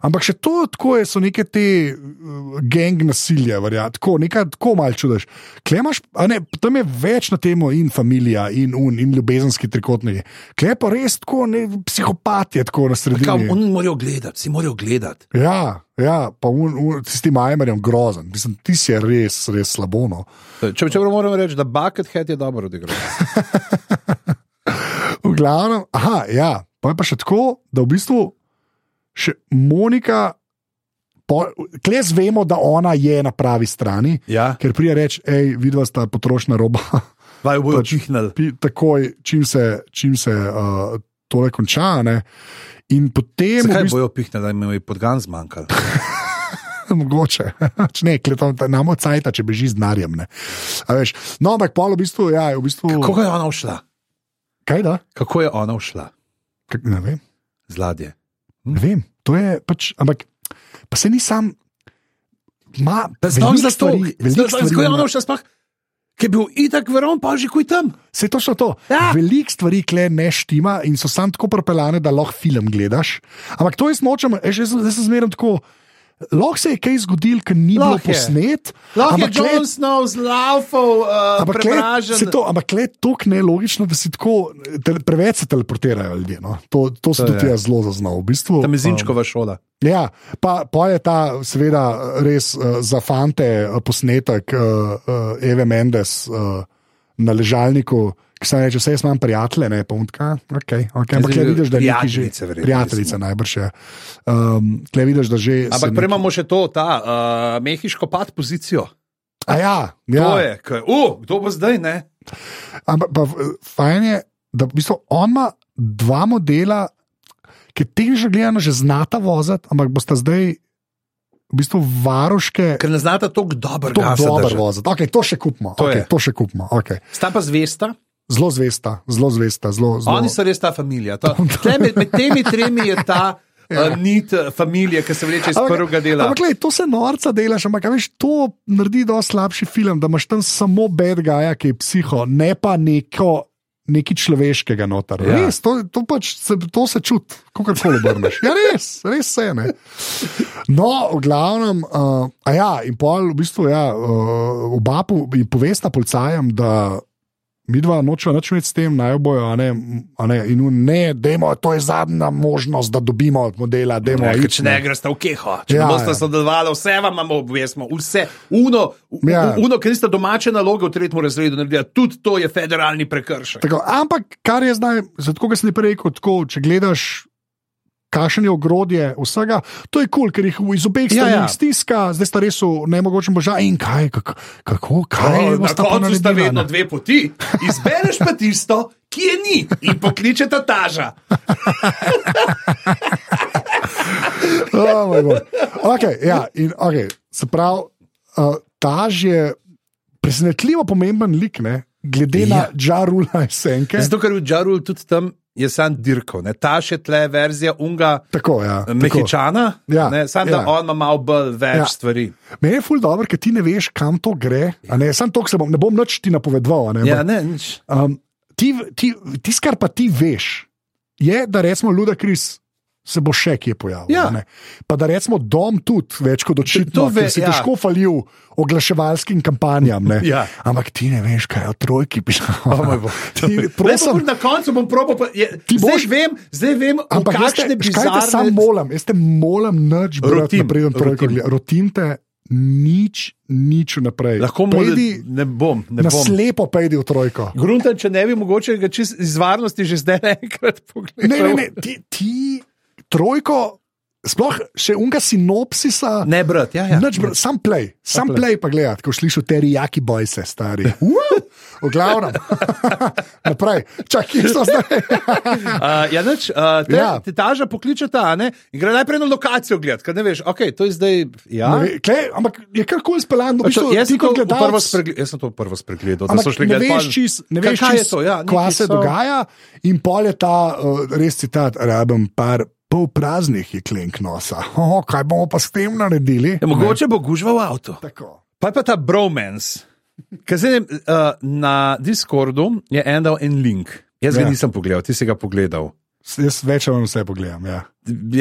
Ampak še to, tako je, so neke te uh, gang nasilja, verja, tako, nekaj tako malo čudež. Klemaš, ne, tam je več na temo in familija, in un, in ljubezenski trikotniki. Klej pa res tako, ne, psihopat je tako
Kam,
na sredini.
oni morajo gledati, si morajo gledati.
Ja, ja, pa un, un, s tem Ajmerjem grozen. Mislim, ti si je res, res no. slabono.
Če, če moram reči, da Buckethead je dobro odigral.
V glavnem, aha, ja, pa je pa še tako, da v bistvu še Monika, klez vemo, da ona je na pravi strani,
Ja.
ker prije reče, hej, vidva sta potrošna roba. [LAUGHS]
Vaju bojo čihnili.
pi- takoj, čim se, čim se uh, tole konča. Ne? In potem,
Zakaj
v bistvu,
bojo pihnili, da jim je podgan zmanjkal?
[LAUGHS] mogoče, če ne, kletom, namo cajta, če beži z narjem. ne. A veš, No, ampak pol v bistvu, ja, je v bistvu.
Kako je ona ušla?
Kaj da?
Kako je ona ušla?
Kak, ne vem.
Z ladje.
Ne vem. To je pač, ampak pa se ni sam. Ma,
Znam
veliko
za to,
stvari- veliko stvari
kako je
ima-
ona ušla sploh, ki je bil itak veron, pa že kuj tam.
Se je točno to.
Ja.
Ja. Veliko stvari kle ne štima in so sam tako propeljane, da lahko film gledaš. Ampak to jaz nočem, veš, jaz, sem- jaz sem zmeraj tako. Lahko se je kaj zgodil, ker ni bilo
Lahko je.
posnet.
Lahko je
ampak glej,
Jon Snow z laufov, uh,
Ampak le, se
prepražen.
to, ampak le tako nelogično, da si tako te, preveč se teleportirajo ljudje. No? To, to sem
To
tudi
je.
jaz zelo zaznal. V bistvu,
Tam je Zinčkova šola.
Ja, pa, pa je ta, seveda, res uh, za fante uh, posnetek uh, uh, Eve Mendes uh, na ležalniku, ki se reče: Vse jaz imam prijatelje, ne puntka. Okay, okay, ampak le
zdaj
vidiš, da je nekaj že.
prijateljice verjetno,
Prijateljica najbrž je. Um, le vidiš, da že. se
Ampak
nek-
prej imamo še to, ta uh, mehiško pad pozicijo.
A ja,
Ja. To
ja.
je, kaj, uh, kdo bo zdaj, ne?
Ampak pa, eh, fajn je, da v bistvu on ima dva modela, ki tehnično gledano že znata voziti, ampak bosta zdaj v bistvu varuške.
Ker ne znata tako dobro,
To je dobro
dobro.
voziti, okay, to še kupimo.
To
To,
je.
okay, to še kupimo. Okay.
Sta pa zvesta,
Zelo zvesta, zelo zvesta. Zelo,
Zlo.
zelo.
oni so res ta familija. Ta, tle, med, med temi tremi je ta ja. uh, nit eh, familije, ki se vleče iz
Ampak-
prvega dela.
Ampak, glej, to se norca delaš, ampak a veš, to naredi dosti slabši film, da imaš tam samo bad guy, ki je psiho, ne pa neko. Nekaj človeškega noter.
Ja.
Ja. Res, to, to, pač se, to se čuti, kako koli obrneš. Ja, res, res se ne. No, v glavnem, uh, a ja, in pol, v bistvu, ja, uh, oba po, in povesta policajem, da mi dva nočemo več imeti s tem, naj jo bojo, a ne, a ne, in un, ne, dajmo, to je zadnja možnost, da dobimo od modela, dajmo.
Ja, ker
iti,
če ne greš v keho, če ja,
No, Ja,
ne boste
ja.
sodelovali, vse vam imamo obvezno, vse. Uno, ja.
Ja.
uno ker niste domače naloge v tretjem razredu naredili, tudi to je federalni prekršek.
Tako, ampak kar je zdaj, zato kot sem ti prej rekel, tako, če gledaš, kakšen je ogrodje vsega, to je kul, cool, ker jih iz obeh
Ja,
strani
ja.
ja, ja. stiska, zdaj sta res v nemogočem božju. In kaj, kako, kako kaj
Na
bosta pa
koncu sta
naredila,
vedno
ne?
dve poti. Izbereš pa tisto, ki je ni in pokličeta taža.
Oh, moj bog. okay, ja, in, okay, se pravi, uh, taž je presenetljivo pomemben lik, ne? glede ja. na
Ja.
žarula in senke.
Zato, ker v Džarul tudi tam je sam dirkal, ne? ta še tle verzija unga. eh,
Tako, ja, tako.
Mehičana,
Ja,
ne, samo da
ja.
on ima malo bolj več ja.
Ja.
stvari.
Meni je ful dobro, ker ti ne veš, kam to gre. a Ne? Sam to se bom, ne bom nič ti napovedoval. a Ne? ampak-
Ja, ne, nič.
Um, ti, ti, tisto, kar pa ti veš, je, da recimo Luda Kris se bo še kje pojavil.
Ja.
ne. Pa da recimo Dom tudi več kot
To
očitno,
ve-
da si
ja.
težko falil oglaševalskim kampanjam. ne.
Ja.
Ampak ti ne veš, kaj je o trojki pisal.
O moj bog.
Ti,
Prosim,
prosim,
Lepo, na koncu bom probo.
Ti
Zdaj
boš-
vem, zdaj vem,
Ampak jaz te,
kakšne
škaj te sam
bizarne.
molim, jaz te molim, nič brati,
Rotim,
preden trojko
rotim.
gledam. Rotim te nič, nič naprej.
Lahko mu
pojdi,
ne bom, ne
na
bom.
slepo pejdi v trojko.
Grunten, če ne bi mogoče ga čist iz varnosti že zdaj [LAUGHS] enkrat pogledal.
Ne, ne, ne, ti, ti trojko, sploh še unga sinopsisa.
Ne, brat, ja, ja.
Nič, bro, sam play, sam
play.
play pa gledaj, ko slišiš te rijaki
[LAUGHS]
bojce, stari. Uh, v glavnem. [LAUGHS] Naprej, čakaj, kje so
[LAUGHS]
zdaj?
Uh, ja, nič, uh, te, ja.
Ja.
te taža pokličeta, a ne? In gre najprej na lokacijo gledati, ker ne veš, ok, to je zdaj. Ja.
Ne ve- Glej, ampak je kar kul speljan, no,
A čo,
bistvo,
Pač, jaz,
ti
sem to v
kot
prvo
gledalec.
spregle- jaz sem to prvo spregledal, da so
Ampak
šli
ne
gledati.
veš,
pa-
čist, ne
Kaj-
veš
kaj je
čist,
to, ja,
kva
neki
se
so-
dogaja. In pol je ta uh, res citat, rabim par pol praznih jeklenk nosa. [LAUGHS] Oh, kaj bomo pa s tem naredili?
Ja, mogoče bo gužval avto.
Tako.
Pa je pa ta bromance. Ker zdaj, uh, na Discordu je en dal en link. Jaz ga ja.
Ja.
nisem pogledal, ti si ga pogledal.
S- Jaz več ali manj vse pogledam. Ja.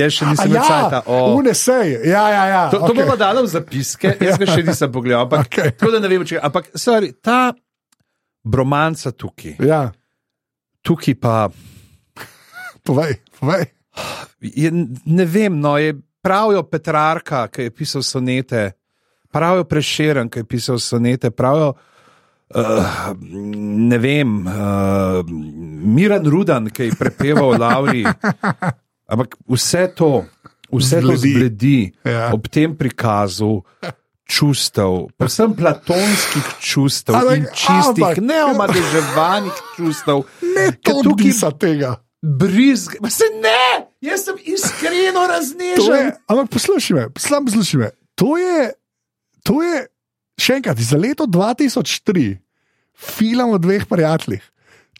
Jaz še nisem
ja,
več časa. To,
unesej. Ja, ja, ja.
to
okej.
bomo dali v zapiske, jaz ga še nisem pogledal. Ampak, okay.
[LAUGHS] Okej.
Tako da ne vem, če je. Ampak sorry, ta bromanca tukaj,
ja,
tukaj pa
povej, povej.
je, ne vem, no, je pravijo Petrarka, ki je pisal sonete, pravijo Prešeren, ki je pisal sonete, pravijo. Uh, ne vem, uh, Miren Rudan, ki je prepeval
[LAUGHS]
Lauri. Ampak vse to, vse to
Zbledi.
zbledi
Ja.
ob tem prikazu čustev, predvsem platonskih čustev
Ampak-
in čistih,
ampak-
neomadeževanih čustev.
Ne,
Ker
to
tukaj
tukaj... tega.
brizg. Ma se ne, jaz sem iskreno
To je,
raznežen.
ampak poslušaj me, sam poslušaj me. To je, to je, še enkrat, za leto 2003, film o dveh prijateljih.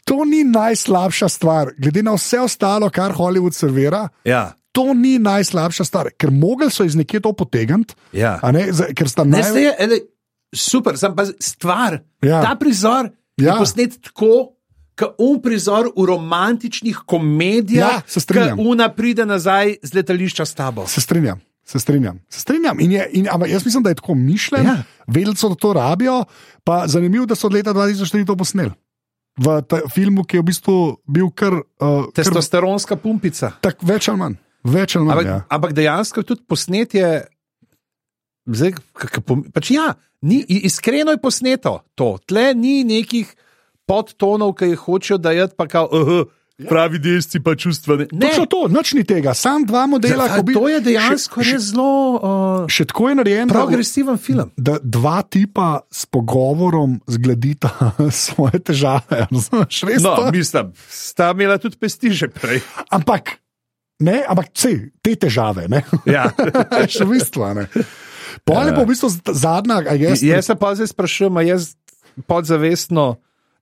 To ni najslabša stvar, glede na vse ostalo, kar Hollywood servira.
Ja,
To ni najslabša stvar, ker mogli so iz nekje to potegniti,
ja.
a ne, za- ker sta
Ne, zdaj
naj...
je ele, super, sem pa stvar.
Ja.
Ja. Ta prizor ja.
Ja.
je posnet tako. Kot un prizor v romantičnih komedijah,
Ja, se strinjam.
ko una pride nazaj z letališča s tabo.
Se strinjam, se strinjam. Se strinjam. In je, in, ampak jaz mislim, da je tako mišljen,
Ja.
ja. vedeli so, da to rabijo. Pa zanimivo, da so od leta 2004 to posneli. V ta- filmu, ki je v bistvu bil kar, uh, kar
Testosteronska pumpica.
tak, več ali manj. Več ali manj
Ampak,
ja.
ampak dejansko je tudi posnetje. Zdaj, k- k- pom- pač ja, ni, i- iskreno je posneto to. Tle ni nekih podtonov, ki jih hočejo dajati, pa kao, uh, pravi desci, pa čustvene. Ne,
Točno to, nič ni tega, sam dva modela.
Zdaj,
ko bi-
to je dejansko
še,
še, zelo uh,
še, še tako je narejen. da-
progresiven film.
Da dva tipa s pogovorom zgledita [LAUGHS] svoje težave. [LAUGHS] Razumeš, res to je-
No, mislim, sta imela tudi pesti že prej.
Ampak, ne, ampak sej, te težave, ne.
[LAUGHS] Ja.
še v bistvu. a Ne. Pol je pa v bistvu z- zadnja, a jaz.
Jaz se pa zdaj sprašujem, a jaz podzavestno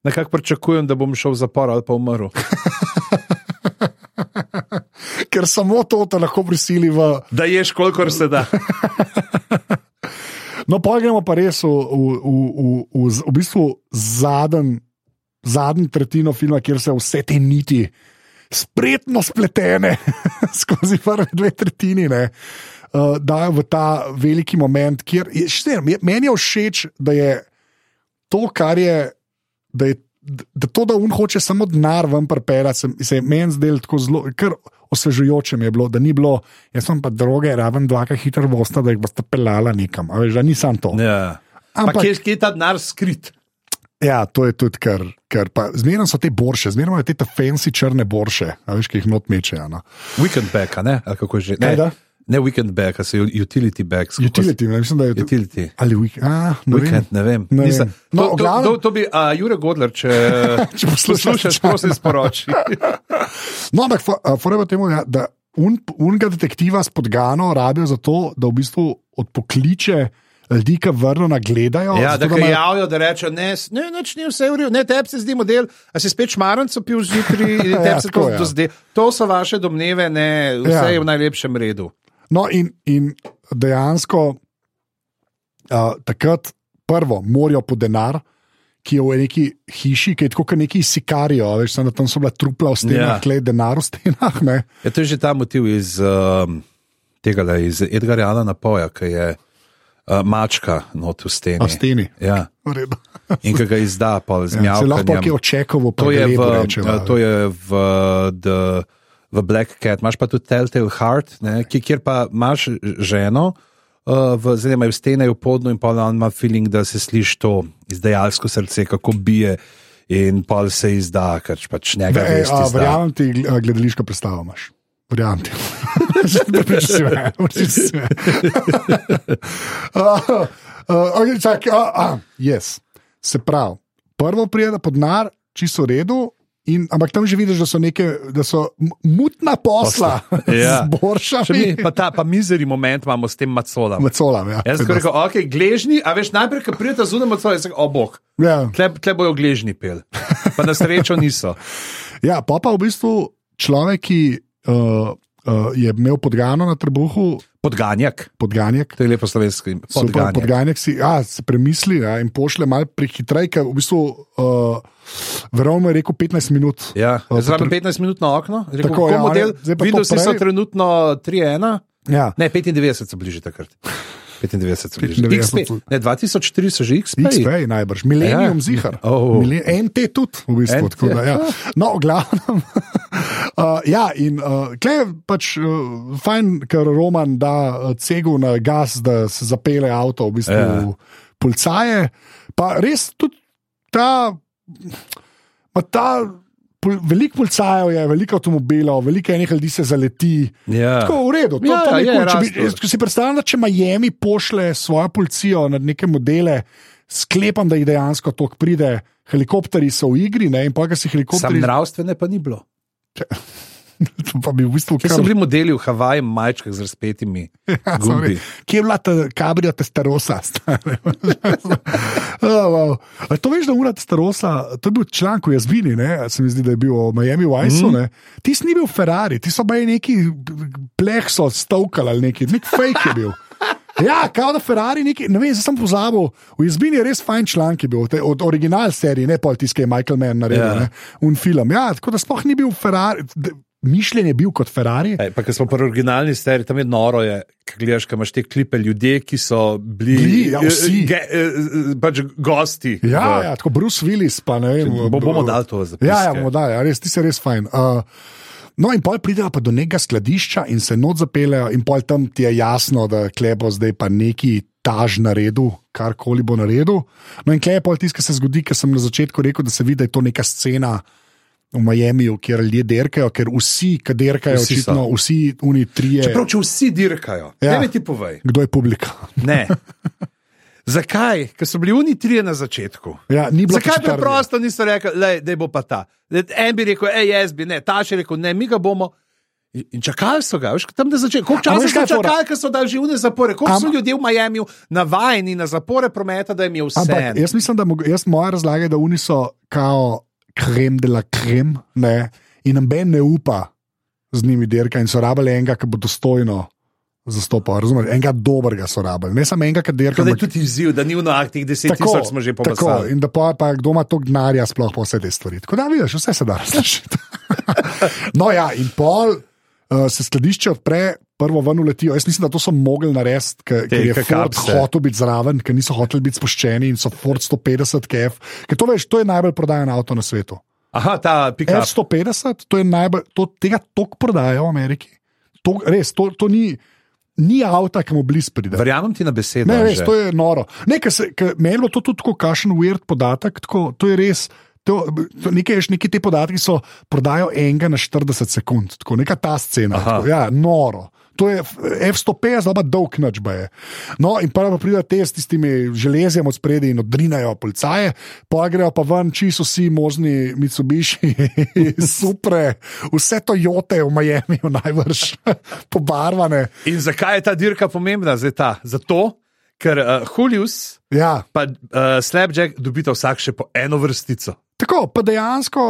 nekako pričakujem, da bom šel v zapor ali pa umrl.
Ker samo to te lahko prisili v.
Da ješ, kolikor se da.
No, pa gremo pa res v, v, v, v, v, v bistvu zadnji zadnj tretjino filma, kjer se vse te niti spretno spletene [LAUGHS] skozi prve dve tretjini. Ne. Uh, dajo v ta veliki moment, kjer je, še ne, vem, meni je všeč, da je to, kar je, da, je, da to, da un hoče samo denar ven prepeljati, se, se je meni zdelo tako zelo, ker osvežujoče mi je bilo, da ni bilo, jaz sem pa droge, raven dva, ki hitro bosta, da jih boste pelala nekam, a veš, da ni sam to.
Ja.
Ampak-
Ampak kje, kje je ta denar skrit?
Ja, to je tudi, kar, kar pa zmerno so te borše, zmerno imajo te ta fancy črne borše, a veš, ki jih not mečejo. No.
Weekend back, a ne? Ali kako je že?
Kaj da?
Ne, ne weekend back, a se utility back.
Utility, ne, mislim, da je to.
Utility.
Ali week, a, ne
Weekend,
vem.
ne vem.
Ne
Nisem-
vem. No,
to,
v
to,
glavnem-
to, to bi, a Jure Godler, če,
[LAUGHS] Če poslušaš,
poslušaš, prosim,
[LAUGHS]
sporoči.
No, ampak foreba temu, ja, da un, unga detektiva s podgano rabijo za to, da v bistvu odpokliče ljudi, ki vrno nagledajo.
Ja,
zato,
da
da
ga
imajo-
javijo, da rečejo, ne, s- ne, nič ni vse v redu, ne, tebi se zdi model, a si spet šmaranco pil zjutraj
[LAUGHS]
in tebi
Ja,
se
tako,
to
ja.
ja. zdi. To so vaše domneve, ne, vse
Ja.
ja. je v najlepšem redu.
No, in, in dejansko uh, takrat prvo morajo po denar, ki je v neki hiši, ki je tako kot neki sikarijo, a veš, samo da tam so bila trupla v stenah,
Ja.
yeah. tle je denar v stenah. Ne?
Ja, to je že ta motiv iz um, tega, da iz Edgarja Alana Poja, ki je uh, mačka not v steni.
A v steni.
Ja,
V redu.
in ki ga izda, pa z
Ja, se lahko
mjavkanjem.
je očekovo,
To je v,
rečeva,
eh, to je v, the, v Black Cat, imaš pa tudi Telltale Heart, ne, ki- kjer pa imaš ženo, uh, v, zdaj imajo stene v podnu in pa on ima feeling, da se sliši to izdajalsko srce, kako bije. In pol se izda, ker pač ne
Da,
greš.
ej, e, a, verjamem ti, gl- a, gledališka predstava imaš. Verjamem ti. [LAUGHS] Ne pričasi me, pričasi me. [LAUGHS] A, a, okej, čakaj, a, a, Yes. Se pravi, prvo prijeda pod nar, čisto v redu. In, ampak tam že vidiš, da so, neke, da so m- mutna posla,
Posla, ja.
[LAUGHS] z boršami
Mi,
[LAUGHS]
pa ta pa mizeri moment imamo s tem macolom.
in colami. Ja.
Jaz sem rekel, ok, gležni, a veš najprej, ko pridete zunaj macole, jaz sem rekel, o bog,
Ja.
tle, tle bojo gležni pel. Pa na srečo niso.
Ja, pa pa v bistvu človek, ki uh, uh, je imel podgano na trebuhu,
Podganjak,
podganjek,
to je lepo slovensko ime.
Super,
Podganjak.
podganjek si, a, si premisli ja, in pošle malo prehitrej, ker v bistvu, uh, verjamem, je rekel 15 minut.
Ja,
A,
Zraven
potr-
15 minut na okno, rekel, tako,
Tako, ja,
ja, model,
on je- zdaj pa to
Windows so
prej.
trenutno 3.1,
Ja.
ne 95 so bližje takrat. 95 so bližje.
95
XP,
so-
ne 2004 so že XP.
XP je najbrž,
Ja.
Millennium ja. [LAUGHS] zihar.
Oh.
Mile- NT tudi, v bistvu.
NT,
tako Da, ja. No, v glavnem. [LAUGHS] uh, ja, in uh, klej je pač uh, fajn, ker Roman da uh, cegu na gas, da se zapele avto, v bistvu
Ja.
ja. policaje. Pa res tudi ta. Ma ta pol- Veliko policajev je, veliko avtomobilov, veliko enih ljudi se zaleti.
Ja.
Tako v redu. To,
Ja,
ja,
ja,
to je,
je
cool. če bi,
raslo.
jaz si predstavljam, da če Miami pošle svojo policijo na neke modele, sklepam, da jih dejansko tok pride. Helikopteri so v igri, ne? in pa, ker si
Sam
helikopteri.
nravstvene pa ni bilo.
[LAUGHS] pa bi v bistvu
Kje
kar-
so bili modeli v Havaju, majčkah z razpetimi
Ja,
gumbi?
[LAUGHS] sorry. Kje je bila ta kabrija [LAUGHS] testarosa? stare? oh, wow. A To veš, da ura testarosa, to je bil članek v Jazbini, ne? se mi zdi, da je bil o Miami Vice.
Mhm.
Mm. Ti si ni bil Ferrari, ti so bili neki plehso stovkali ali neki, nek fake je bil. Ja, kao da Ferrari, neki, ne vem, zdaj sem pozabil. V Jazbini je res fajn članek je bil, te, od original serije, ne pol tiskaj Michael Mann naredil,
Ja.
yeah. ne, un film. Ja, tako da sploh ni bil Ferrari, d- mišljen je bil kot Ferrari.
Ej, pa, ker smo pri originalni steri, tam je noro, je, kaj gledaš, kaj imaš te klipe ljudi, ki so bili,
Bili, ja,
eh,
vsi.
Ge, eh, pač gosti.
Ja,
v-
ja, tako Bruce Willis, pa ne vem.
Bo- bomo dali to v zapiske.
Ja, ja, bomo dali, ja, res, ti si res fajn. Uh, no, in pol pridejo pa do nekega skladišča in se noč zapeljejo, in pol tam ti je jasno, da klebo zdaj pa neki taž naredil, karkoli bo naredil. No, in klebo je tisto, kar se zgodi, ker sem na začetku rekel, da se vidi, da je to neka scena. V Miamiju, kjer ljudje derkajo, ker vsi, ki derkajo,
Vsi
vsi
so.
očitno, vsi oni trije.
Čeprav, če vsi dirkajo, ja.
Ja.
ne mi ti povej.
Kdo je publika? [LAUGHS]
Ne. Zakaj? Ker so bili oni trije na začetku.
Ja, ni bilo
Zakaj
četrtega.
preprosto niso rekli, da bo pa ta? Lej, En bi rekel, hej, jaz bi, ne, ta še rekel, ne, mi ga bomo. In in čakali so ga, veš, tam da začne. Koliko
A
časa
veš,
so
kaj je fora?
čakali, ker so dali živne zapore? Koliko so
Am-
ljudje v Miamiju navajeni na zapore prometa, da jim je vse?
Ampak jaz mislim, da mog- jaz moja razlaga je, da oni so kao krem de la krem ne? in noben ne upa z njimi dirka in so rabili enega, ki bo dostojno zastopal. Razumeš? Enega dobrega so rabili, ne samo enega, ki dirka.
Tako da je
ampak-
tudi izziv, da ni v aktih 10 tisoč smo že
tako,
pomagali.
in da pa, pa kdo ima to gnarja, sploh pa vse te stvari. Tako da vidiš, vse se
[LAUGHS]
da razrešiti. no, ja, in pol uh, se skladišče odpre, prvo ven uletijo. Jaz mislim, da to so mogli narediti, ker, ker je
ke
Ford
kapse.
hotel biti zraven, ker niso hoteli biti spuščeni in so Ford 150 KF. Ker to veš, to je najbolj prodajen avto na svetu.
Aha, ta pika.
F-150, to je najbolj, to, tega tok prodajo v Ameriki. To, res, to, to ni, ni avta, ki mu blizu pride.
Verjamem ti na besedo.
Ne, res,
Anže.
to je noro. Ne, ker se- ker Meni je bilo to tudi tako, kašen weird podatek. Tako, to je res. To, to nekaj, nekaj te podatki so prodajo enega na 40 sekund, tako neka ta scena.
Aha.
Tako, ja, noro. To je F- F-150, zelo dolg načba je. No, in prvo pridejo te s tistimi železjem od spredi in odrinajo policaje, pa grejo pa ven čisto vsi možni Mitsubishi, [LAUGHS] supre, vse to jote v Miami, najbrž [LAUGHS] pobarvane.
In zakaj je ta dirka pomembna? zdaj Ta? Zato, ker uh, Julius
Ja.
pa uh, Slapjack dobita vsak še po eno vrstico.
Tako, pa dejansko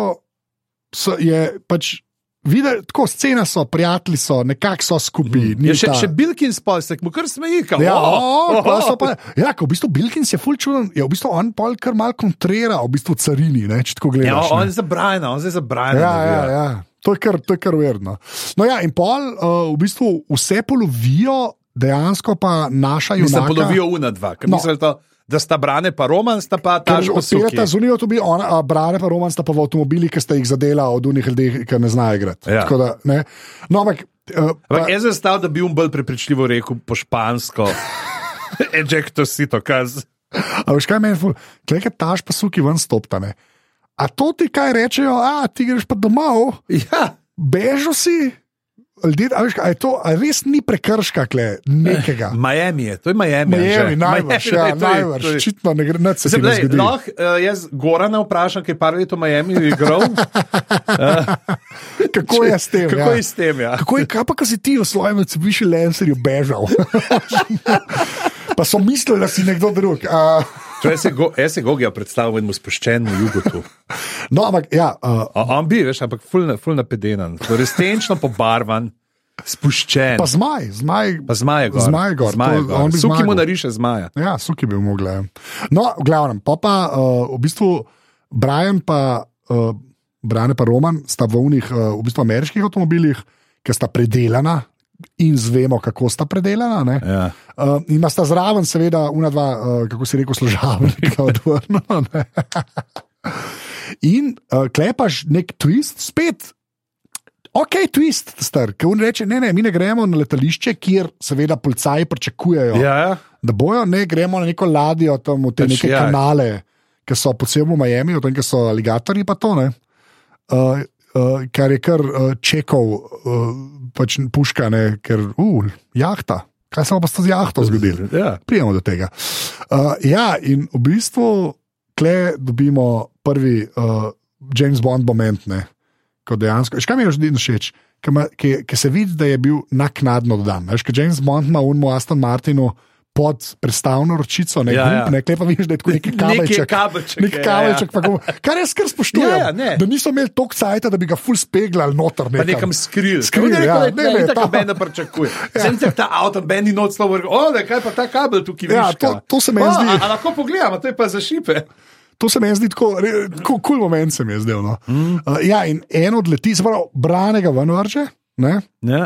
so, je pač. Videli, tako scena so, prijatelji so, nekako so skupaj. Mm.
Je Ja, še, še Bilkin spolsek, mu kar smeji, Oh, kako
Ja, o, o, pa so pa, ja, ko v bistvu Bilkins je fulčuden, je v bistvu on pol kar mal kontrira, v bistvu carini, ne, če tako
Ja,
gledaš.
on
ne.
je za Briana, on je za Briana.
ja, ja, ja. To je kar, to je kar verno. No ja, in pol, uh, v bistvu vse polovijo, dejansko pa naša junaka.
Mislim, ponovijo una dva, ker no.
No.
mislim, da sta Brane pa Roman, sta pa ta
Ker
že
odpirata zunaj avtomobila, ona, a Brane pa Roman sta pa v avtomobilih, ki ste jih zadela od unih ljudi, ki ne znajo igrati.
Ja.
Tako Da, ne. no, ampak, uh,
Ampak jaz sem stal, da bi jim bolj prepričljivo rekel po špansko. [LAUGHS] Ejecto sito, kaz.
a veš kaj meni, klekaj taš pa suki ven stoptane. A to ti kaj rečejo, a ti greš pa domov,
Ja,
bežal si. Ljudje, a, veš, kaj, a, je to, a res ni prekrška, kle, nekega.
Miami je, to je Miami.
Miami,
Anže.
najbrž,
Miami, to je-
ja,
to je-
najbrž, očitno ne gre, nič se
Se
ti ne
pravi,
zgodi.
lahko eh, jaz Gorana vprašam, ki je par let v Miami igral.
Kako je s tem?
Kako
[LAUGHS] ja?
je s tem?
[LAUGHS]
Ja?
Kako je, kaj pa, ko si ti v svojem cepiši lenserju bežal? [LAUGHS] pa so mislili, da si nekdo drug. Uh,
Torej, Jaz se, go, jaz se Gogija predstavljam enemu spuščenemu jugotu.
no, ampak ja, uh,
A On bi, veš, ampak ful, na- ful napedenan, ful restenčno pobarvan, spuščen.
pa zmaj, zmaj.
Pa zmaje gor.
Zmaje gor,
Zmaje
to-
gor.
on bi
Suki mu
zmagal.
nariše zmaja.
Ja, suki bi mogli. No, v glavnem, pa pa uh, v bistvu Brian pa. Uh, Brane pa Roman sta v unih, uh, v bistvu ameriških avtomobilih, ki sta predelana in zvemo, kako sta predelana. Ne?
Ja.
Uh, in ima sta zraven, seveda, una dva, uh, kako si rekel, služabnika odvrnjena. ne. [LAUGHS] in uh, klepaš nek twist, spet. Ok, twist, star, ki on reče: ne, ne, mi ne gremo na letališče, kjer seveda policaji pričakujejo,
Ja, ja.
da bojo, ne gremo na neko ladjo tam v te
Pač,
pač, neke
ja.
ja. kanale, ki so po celem Miami, tam, kjer so aligatorji, pa to ne. Uh, uh, kar je kar uh, čekal, uh, pač puškane, ker uh, jahta. Kaj se bo pa s to z jahto zgodilo?
Ja.
Prijemo do tega. Uh, ja, in v bistvu tle dobimo prvi uh, James Bond moment, ne, ko dejansko. Še kaj mi je že všeč? Ki, ima- ki, ki se vidi, da je bil naknadno dodan. Veš, ker James Bond ima unmo Aston Martinu pod predstavno ročico, ne
Ja,
ja,
ja.
gumb, ja. ne kaj pa vidiš, da je tako neki
[LAUGHS] Neki
kabelček.
kabelček,
nek
ja, ja.
kabelček pa gumb. Kar jaz kar spoštujem.
Ja, ja, ne.
da niso imeli toliko cajta, da bi ga ful speglali noter.
Pa nekam skril.
Skril,
Tako da je
ja,
rekel, da
ne, ne,
je tako
ta-
benda pričakuje. Sem se ta avto, bendi noč slovo, o, da kaj pa ta kabel tukaj
Ja,
viška.
to- to se meni
O,
zdi.
A, a lahko pogledamo, to je pa za šipe.
To se mi zdi tako, re- tako kul cool moment, se mi je zdel. No. Mm. Uh, ja, in en odleti, se pravi, branega ven vrže, ne?
Ne,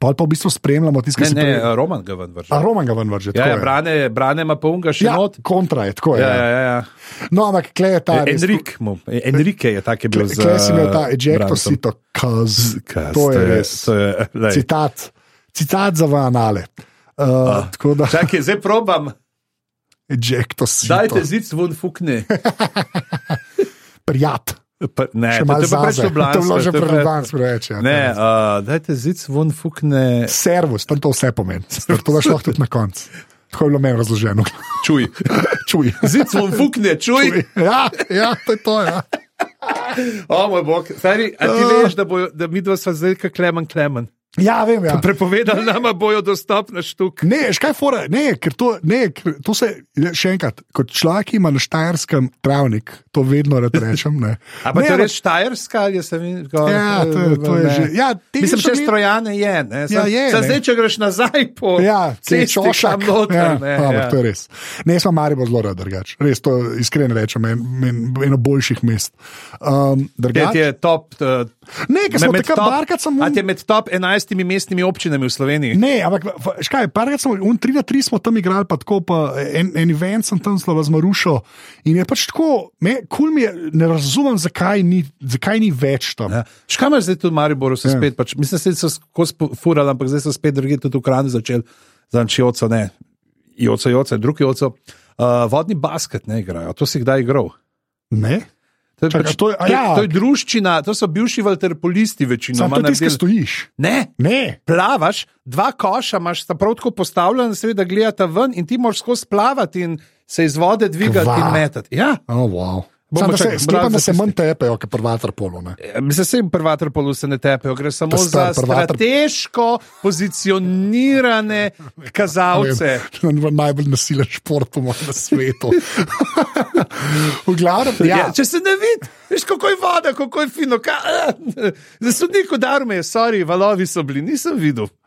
pol pa v bistvu spremljamo tisto, kar
ne,
se
ne
prej.
Roman ga ven vrže.
A Roman ga ven
Ja,
vrže. tako
ja,
je.
brane, brane ima pa unga še
ja,
not.
kontra je tako.
Ja,
Ja,
ja, ja.
No, ampak kle je ta. res-
Enrik, mu- Enrike je tak je bil za.
Kle si imel ta ejecto
Brantom.
sito, kaz.
Kaj,
To je res.
to je- lej.
Citat, citat za vanale.
Ah.
Uh, tako da,
Čakaj, zdaj
[LAUGHS]
probam.
ejecto sito.
Dajte zid ven, fukni.
Prijat.
Pa- Ne,
Še
to- to
malo
je pa preveč
zaze. To je bilo že
ljubljansko, to je pa-
preljubljansko reči. ja.
Ne, uh, dajte zid ven, fukne.
Servus, tam to vse pomeni. Stvar, To daš lahko tudi na koncu. Tako je bilo meni razloženo. [LAUGHS]
Čuj.
Čuj.
Zid ven, fukne, čuj.
Ja, ja, to je to. Ja.
O moj bog, stari, a ti
Ah.
veš, da, bojo, da mi dva sva zdaj kot klemen klemen.
ja, vem. Ja.
Prepovedali nama bojo dostop na štuk.
Ne, škaj fora, ne, ker to, ne, ker to se, ja, še enkrat, kot človek ki ima na štajerskem travnik, to vedno rad rečem. Ne,
[LAUGHS] A pa
ne,
to je
ampak-
res štajerska ali sem jim rekel?
Ja, to je- to je že- ja, tehnično
Mislim, še
ni-
strojane je. Ne, sam,
Ja, je,
sam
ne.
zdaj, če greš nazaj po
Ja,
cesti,
cesti, čošak,
tam noter.
ja,
ne,
ampak
ja.
to je res. Ne, sem Maribor zelo rad, drugač. Res to iskreno rečem, en, en, eno boljših mest. Um,
Kaj Ja. ti
drugač,
je top? eh,
ne, ker smo
med
takrat
top-
barkat samo.
A ti je med top 11 mestnimi občinami v Sloveniji?
Ne, ampak v- škaj, parkrat smo, un 3 na 3 smo tam igrali, pa tako, pa en, en event sem tam slova z Marušo in je pač tako, me, kul mi je, ne razumem, zakaj ni, zakaj ni več tam.
Ja. Škaj imaš zdaj tudi v Mariboru, se
Ja.
spet, pač, mislim, da so skozi furali, ampak zdaj so spet drugi tudi v Kranju začeli, znači oco, ne, joco, joco, drugi oco. Uh, vodni basket ne igrajo, to si kdaj igral.
Ne,
To je, pač-
Čakaj, to je- a
to, je,
ja.
to je druščina, to so bivši valterpolisti večinoma.
samo to tiskaj
naredili.
stojiš.
Ne,
Ne.
plavaš, dva koša imaš sta prav tako postavljena, seveda gledata ven in ti moraš skozi plavati in se iz vode dvigati
Kva.
in metati. Ja.
Oh, wow.
Bomo
Sam, da se,
čakali,
sklepam,
brat
da se
za
manj tepejo, kot prvatar polo. Ne?
Ja, Mislim, se jim prvater polu se ne tepejo, gre samo
To
za
star prvater-
strateško pozicionirane kazalce.
[LAUGHS] To je najbolj nasilen šport, po mojem,
[LAUGHS]
na svetu. v glavnem, ja.
Ja, če se ne vidi, veš kako je voda, kako je fino. Ka, za sodniku darme je, sorry, valovi so bili, nisem videl.
Ja,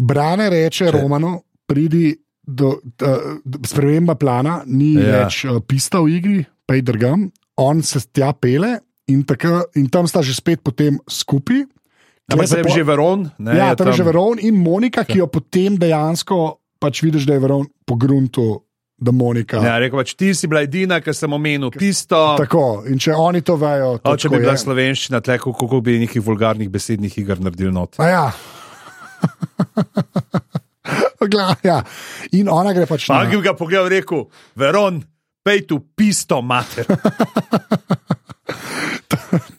Brane reče Če. Romano, pridi do uh, sprememba plana, ni
Ja.
ja. več uh, pista v igri, pej drgam, on se tja pele in, taka, in tam sta že spet potem skupaj.
Ampak
Tle
Ja,
se
zdaj je
po-
že veron. Ne, je Ja.
Ja, tam je že Veron in Monika, ki jo potem dejansko pač vidiš, da je Veron pogruntu, da Monika.
Ja, rekel pač ti si bila edina, ki sem omenil pisto.
Tako, in če oni to vejo,
O,
to
če
tako
bi bila
je.
slovenščina, tle, kako, kako bi nekih vulgarnih besednih iger naredili not.
A Ja. [LAUGHS] Gla, ja. In ona gre pač
Pa
na-
ki bi ga pogledal, rekel, veron, pej tu pisto, mater.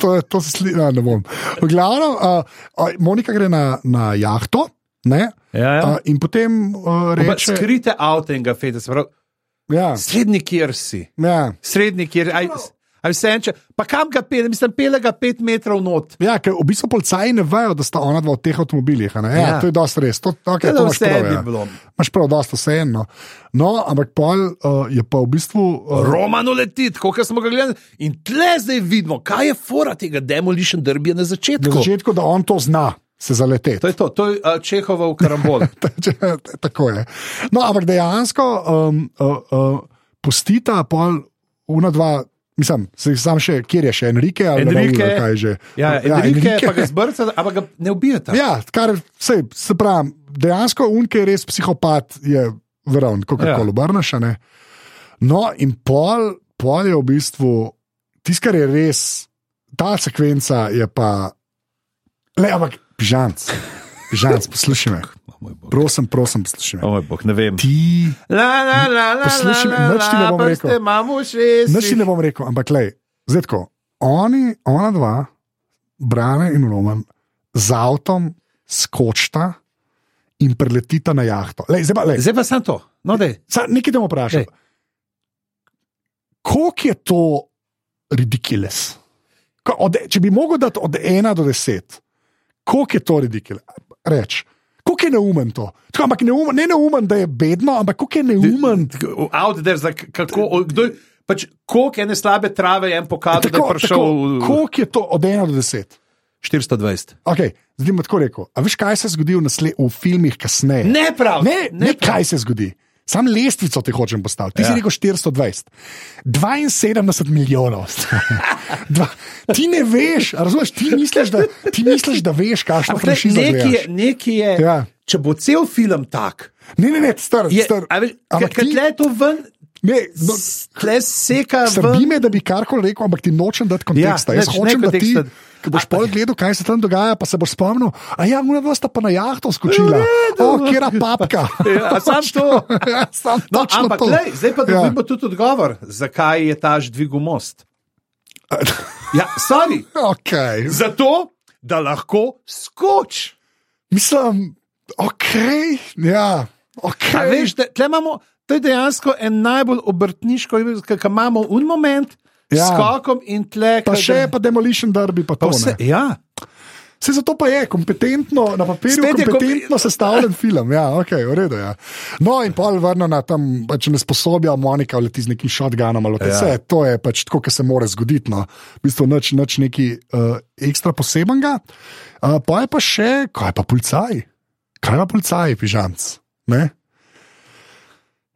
to, to se sliši, ne bom. V glavnem, uh, uh, Monika gre na, na jahto ne,
Ja,
uh, in potem uh,
Pa
reče:
Skrite avto in ga fete, se pravi,
ja,
srednji kjer si,
ja.
srednji kjer, aj, aj vse enče, pa kam ga pele, mislim, pele ga pet metrov not.
ja, ker v bistvu policaji ne vejo, da sta ona dva v teh avtomobilih. a ne. Ja,
Ja.
ja. To je dosti res. To, okay,
Ja,
to
da
imaš
vse
prav,
bi
ja.
bilo.
Imaš prav, dosta vseeno. No, ampak pol uh, je pa v bistvu. Uh,
Roman uleti, kot smo ga gledali. In tle zdaj vidimo, kaj je fora tega demolition derbija na
na
začetku.
začetku, da on to zna, se zaleteti.
To je to, to je uh, Čehova v
[LAUGHS]
karambolu.
Če- Tako je. No, ampak dejansko um, uh, uh, pustita pol una dva. Mislim, se jih sam še, kjer je še Enrique ali
Enrique.
Raul, ali kaj že.
Ja, Enrique, pa ga zbrca, ampak ga ne ubijata.
Ja, kar se, se pravi, dejansko unke je res psihopat, je verovn, kako
Ja.
ja. koli obrneš. a ne. No, in pol, pol je v bistvu tisto, kar je res, ta sekvenca je pa, le, ampak žanc, žanc, poslušaj me.
O moj bog,
Prosim, prosim, poslušaj me.
o moj bog, ne vem.
Ti
La, la, la, la,
Poslušaj,
la, la,
nič ti ne
la,
bom
prste
rekel.
imam v šestih.
Nič ti ne bom rekel, ampak le, zdaj tako. oni, ona dva, Brane in Roman, z avtom skočita in preletita na jahto. Lej, zdaj pa, lej,
Zdaj pa sem to. No, daj.
Sa, nekaj te bom vprašal.
Daj.
Koliko je to ridiculous? Ko- Od, če bi mogel dati od ena do deset, koliko je to ridiculous? Reč. Koliko je neumen to? Tako, ampak neumen, ne neumen, da je bedno, ampak koliko je neumen.
Tako, Out there, za k- kako, o- kdo, je- pač, koliko ene slabe trave je en pokazal, da je
Tako,
prišel
tako, koliko je to od ena do deset?
420.
Okay, zdaj bom tako rekel. A veš, kaj se zgodi v, nasle, v filmih kasneje?
Ne prav.
Ne, ne, ne kaj se zgodi. Sam lestvico ti hočem postaviti. Ti
Ja.
ja. si rekel 420. 72 milijonov. [LAUGHS] Dva, ti ne veš, a razumeš, ti misliš, da, ti misliš, da veš, kakšno
Ampak, glej,
franšizo
nekaj je,
gledaš.
nekaj je
Ja.
če bo cel film tak,
Ne, ne, ne, star,
je,
star.
a veš, ker
Ampak
ker
ti-
tle je to ven,
Ne, no,
s- tle seka
Srbi
ven.
me, da bi karkoli rekel, ampak ti nočem dati konteksta.
Ja,
Ja,
nič,
Jaz
ne
hočem, da ti,
konteksta.
ki boš pol gledal, kaj se tam dogaja, pa se boš spomnil, a ja, mora dva sta pa na jahto skočila. O, kera papka.
no. [LAUGHS] Ja, sam to.
Ja, [LAUGHS] Sam
No,
točno
ampak
to.
lej, zdaj pa
Ja. [LAUGHS]
dobimo ja. tudi odgovor, zakaj je taž dvigu most. Ja, sorry,
Okay.
zato, da lahko skoči.
Mislim, ok, ja, ok.
A veš, da, tle imamo, to je dejansko en najbolj obrtniško, ki ga imamo v en moment,
Ja.
ja. skokom in tle.
Pa
ke-
še pa demolition derbi, pa
pa
to
vse.
vse.
Ja.
Vse zato pa je kompetentno, na papirju
Spet je
je
kom-
kompetentno sestavljen film. Ja, ok, v redu. Ja. No, in pol vrno na tam, pač ne sposobijo, Monika leti z nekim šotganom ali
Ja.
vse. Ja. To je pač tako, kar se more zgoditi. No. V bistvu nič, nič neki uh, ekstra posebenega. Uh, pa je pa še, kaj pa policaj. Kaj pa policaj, pižamc? Ne?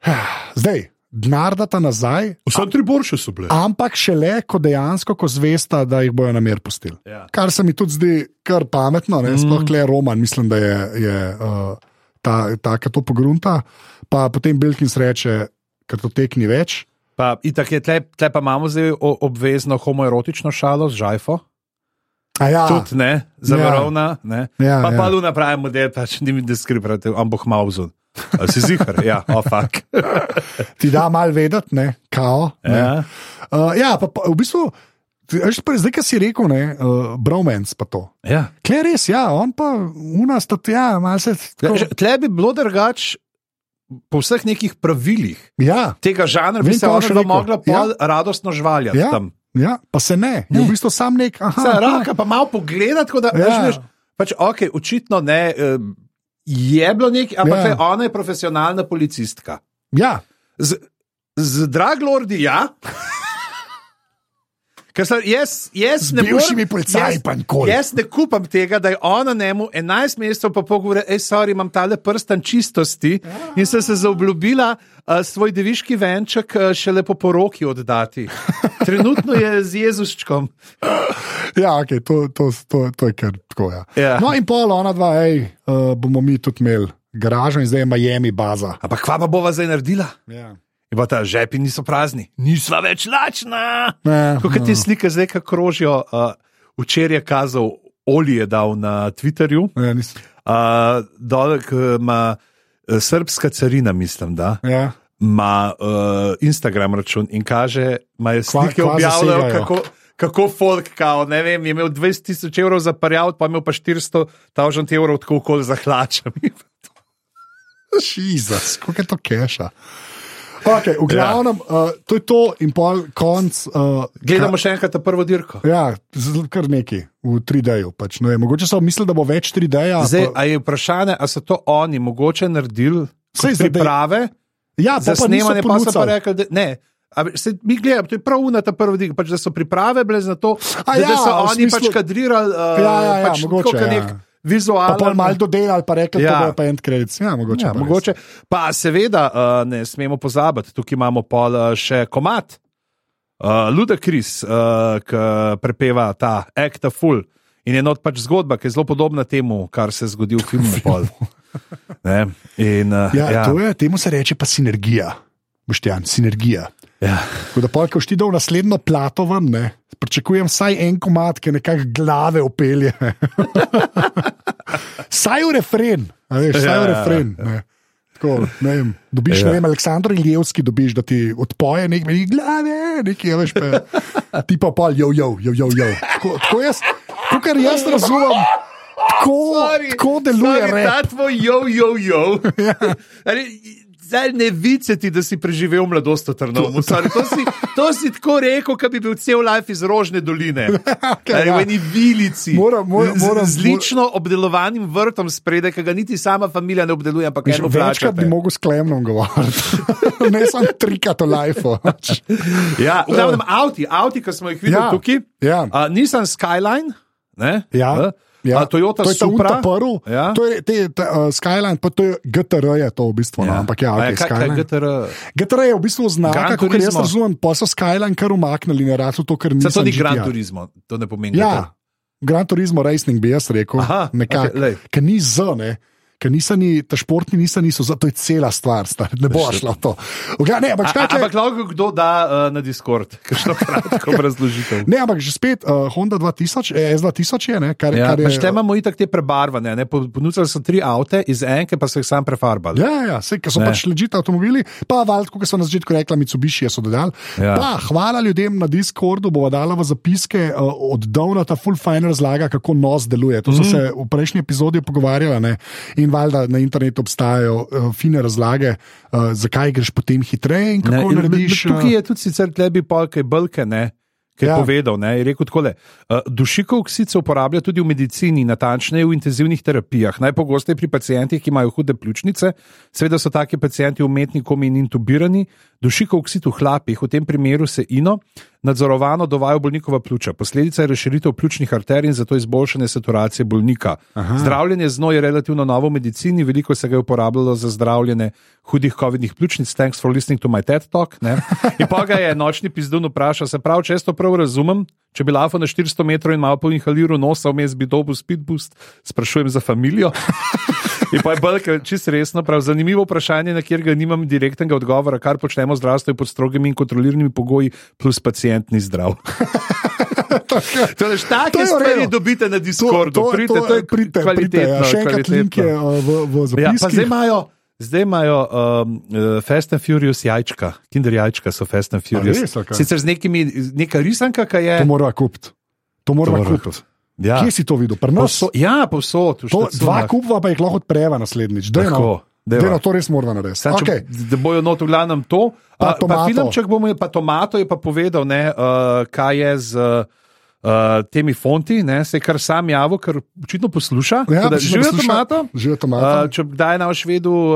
[SIGHS] Zdaj, dnardata nazaj,
Vsem tri borše so bile.
Ampak šele, ko dejansko, ko zvesta, da jih bojo namer pustili.
Ja.
Kar se mi tudi zdi kar pametno, ne?
Mm.
sploh le Roman, mislim, da je, je uh, ta, ta, ki to pogrunta. Pa potem Belkins reče, ker to tekni več.
Pa, itak je, tle, tle pa imamo zdaj o- obvezno homoerotično šalo z žajfo,
A ja,
tudi ne, zavarovna. Ne.
Ja,
pa
ja.
pa luna pravi model, pač ni mi diskriminativ, ampak mauzun. A Si zihar, ja, ofak.
ti da mal vedeti, ne, kao. Ne.
Ja.
Uh, ja, pa, pa v bistvu, ti- a veš, pa zdaj, kar si rekel, ne, uh, bromance pa to.
Ja.
Kle res, ja, on pa unastat, ja, malo se.
Ja,
Tako,
že- Tle bi bilo drugače po vseh nekih pravilih
ja.
tega žanra,
Vem,
bi se
kaj
ona
boš
bila
rekel.
mogla pol radostno žvaljati
Ja.
tam.
Ja, pa se ne, ne. je v bistvu sam nek. Aha,
Saj,
aha.
Raka pa malo pogledati, tako da
Ja.
ja. veš, pač, ok, očitno ne. eh, Je bilo nekaj, ampak
Ja.
ja. ona je profesionalna policistka.
Ja,
Z, z Draglordi, ja. [LAUGHS] Ker sem jaz, jaz ne
bivšimi policaji
jaz-
pa nikoli.
Jaz ne kupam tega, da je ona njemu 11 mesecev po pogovoru, hej, sorry, imam tale prstan čistosti in sem se zaobljubila uh, svoj deviški venček uh, šele po poroki [LAUGHS] oddati. Trenutno je z Jezuščkom.
Ja, okay, to, to, to, to je kar tako. Ja.
Ja.
No, in pol, ona dva, hej, uh, bomo mi tudi imeli garažo in zdaj je Miami baza.
Ampak kva pa bova zdaj naredila?
Ja.
In pa ta žepi niso prazni, nisva več lačna. No.
Ja,
Kot te slike zdaj, kako krožijo, uh, včeraj je kazal, Oli je dal na Twitterju, uh,
Ja, nisem.
dolek ima eh, srpska carina, mislim, da
Ja.
ima uh, Instagram račun in kaže, imajo slike
kva
objavljajo,
zasegajo.
kako. Kako folk, kao, ne vem, je imel 20 tisoč evrov za parjal, pa je imel pa 400 tisoč evrov, tako kot za hlačami.
Jezus, kako je to keša. Okay, v glavnem, ja. uh, to je to, in pol konc. Uh,
[LAUGHS] Gledamo še enkrat ta prvo dirko.
Ja, z- kar nekaj v 3D-ju. Pač, ne vem, mogoče so mislili, da bo več 3D-ja.
Zdaj,
pa-
a je vprašanje, ali so to oni mogoče naredili
Saj
kot
zdaj, da je-
priprave
Ja,
za
pa pa niso
snemanje, pa so pa
ponucali.
rekli, da ne. A veš, saj Mi gledamo, to je prav unata prva diga, pač, da so priprave bile za to,
A
da, da
ja,
so
v
oni
smislu-
pač kadrirali, uh,
Ja, ja, ja,
pač tako
mogoče,
kot
ja.
nek
Pa pol
vizualen.
malo dodelali, pa rekli, ja.
Ja.
da bo pa en kredit. Ja, mogoče.
Ja,
pa res.
mogoče. Pa seveda uh, ne smemo pozabiti, tukaj imamo pol uh, še komat, uh, Luda Kris, uh, ki prepeva ta Act of Full. In je not pač zgodba, ki je zelo podobna temu, kar se je zgodilo v
[LAUGHS]
filmu. pol. Ne? In, uh,
Ja, ja.
ja,
To je, temu se reče pa sinergija. Boštjan, sinergija.
ja.
Tako da, polk, ko šti dol naslednjo plato ven, ne, pričakujem vsaj en komat, ki nekako glave opelje. [LAUGHS] Saj v refren, a veš, saj
Ja,
v
ja,
refren. Ne. Tako, ne vem, dobiš,
Ja.
ja. ne vem, Aleksandr Iljevski, dobiš, da ti odpoje nekaj, nekaj glave, nekaj, a veš, pa, ti pa pol, jo, jo, jo, jo. jo. Tako, tako jaz, tako kar jaz razumem, tako, sorry, tako deluje
sorry,
rap.
Ta tvoj jo, jo,
[LAUGHS]
jo. Ja. Ali, Zdaj ne viceti, da si preživel mladost v Trnovu. Sorry, To, si- to si tako rekel, da bi bil cel life iz Rožne
[LAUGHS]
doline. Ali
ja.
v eni vilici.
Moram- moram-
Z-
moram-
z lično obdelovanim vrtom spredaj, ki ga niti sama familija ne obdeluje, ampak
Veš,
eno
Večkrat bi
plačate.
mogel s klemnom govoriti, [LAUGHS] ne samo trikati o lajfu.
Ja, v glavnem avti, avti, ki smo jih videli
pač. Ja,
tukaj.
ja.
A, Nissan Skyline, ne?
Ja,
A,
ja.
a Toyota
to je ta
Supra.
Prv,
Ja.
ja. To je te, te, uh, Skyline, pa to je GTR, je to v bistvu. Ja. No, ampak ja,
A
okay,
kaj- kaj
Skyline.
GTR?
GTR je v bistvu
Gran
znaka, kot jaz
Turismo.
razumem, pa so Skyline kar umaknili na ratu, to, kar
Saj
niso.
to ni Gran Turismo, to ne pomeni.
Ja, Gran Turismo Racing bi jaz rekel,
Aha, okej, lej.
okay, ker ni z, ne. Ker niso ni, ta športni niso, niso za to, je cela stvar, star, ne bo šlo to. Oga, ne, ampak,
A-
čakaj,
a- Ampak lahko kdo da uh, na Discord, [LAUGHS] kakšno kratko razložitev.
Ne, ampak že spet uh, Honda 2000, eh, S2000 je, ne, kar,
Ja,
kar je.
pač te imamo itak te prebarvane, ne? Po- ponudili so tri avte, iz enke pa so jih sam prefarbali.
Ja, ja, vse, ker so
Ne.
ne. pač ležite avtomobili, pa valjda, kot so na začetku rekla, Mitsubishi so dodali.
Ja.
Ja. Pa, hvala ljudem na Discordu, bova dala v zapiske uh, od Dovna ta full fine razlaga, kako nos deluje. To so
Mhm.
mm -hmm. se v prejšnji epizodi pogovarjala ne? in valjda na internetu obstajajo uh, fine razlage, uh, zakaj greš potem hitreje in
Ne,
kako
in
ne,
med-
narediš.
med Tukaj
uh,
je tudi sicer tlebi polke Belke, ne. Ker je ja.
Ja.
povedal, ne, je rekel tako: uh, dušikov oksid se uporablja tudi v medicini, natančneje v intenzivnih terapijah. Najpogosteje pri pacijentih, ki imajo hude pljučnice, seveda so taki pacijenti umetni komi in intubirani. Dušikov oksid v hlapih, v tem primeru se ino, nadzorovano dovajo bolnikova pljuča. Posledica je razširitev pljučnih arterij in zato izboljšanje saturacije bolnika. Aha. Zdravljenje z njo je relativno novo v medicini, veliko se ga je uporabljalo za zdravljenje hudih COVID-ih pljučnic. Thanks for listening to my TED talk. Ne? In pa ga je nočni pizdun vprašal, se pravi, če jaz to prav razumem, če bi lafo na 400 metrov in malo po inhaliru nosa vmes bi dobil speed boost, sprašujem za familijo. In pa je bilo čisto resno, prav zanimivo vprašanje, na katerega nimam direktnega odgovora, kar počnemo v zdravstvu je pod strogimi in kontroliranimi pogoji, plus pacijent ni [LAUGHS] zdrav. Torej,
To
take
je v redu.
stvari dobite na Discordu, pridite, to je
pridite, pridite. Ja, še enkrat link je uh, v, v
Ja, pa zdaj
zapiskih.
imajo, zdaj imajo um, eh, Fast and Furious jajčka, Kinder jajčka so Fast and Furious.
res, ali kaj?
Sicer z nekimi, z neka risanka, ki je.
to mora kupiti. To mora
mora
kupiti.
Ja,
Kje si to videl? Pri nas?
povsod, ja, povsod. v
To,
štacionah.
dva kupva pa jih lahko odpreva naslednjič.
Tako,
Dejno,
dajva.
dejno, no, to res moramo narediti.
Sam, če,
Okay.
Da bojo not v glavnem to. A,
Pa
pa
tomato.
filmček bomo, pa Tomato je pa povedal, ne, uh, kaj je z uh, temi fonti, ne, se je kar sam javil, ker očitno posluša. Tako da,
pač
Živijo
posluša-
Tomato.
Živijo
Uh,
tomato.
če kdaj na švedu, uh,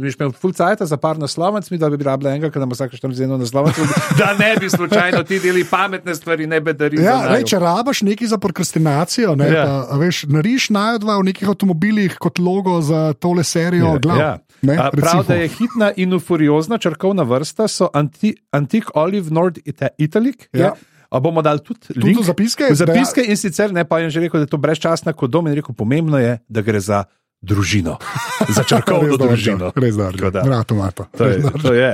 mi smo imeli fulcajta za par naslovnic, mi da bi rabila enega, ki nam vsake 40 naslovnic,
[LAUGHS]
da ne bi slučajno ti delili pametne stvari, ne bedarili.
Ja, lej, če rabaš nekaj za prokrastinacijo, ne,
Ja.
ja. pa, a veš, nariš najo dva v nekih avtomobilih kot logo za tole serijo ja, glav. Ja. Ne,
A, Prav,
recimo.
da je hitna in furiozna črkovna vrsta, so anti, Antique Olive Nord Ita- Italic.
Ja.
je. A bomo dali tudi link,
v zapiske?
V zapiske in sicer ne, pa je že rekel, da je to brezčasna kot dom in rekel, pomembno je, da gre za
[LAUGHS]
družino, za črkovno
Res dobro,
družino.
Res
Tako
dobro.
da,
Bra, tomato.
To je, to je.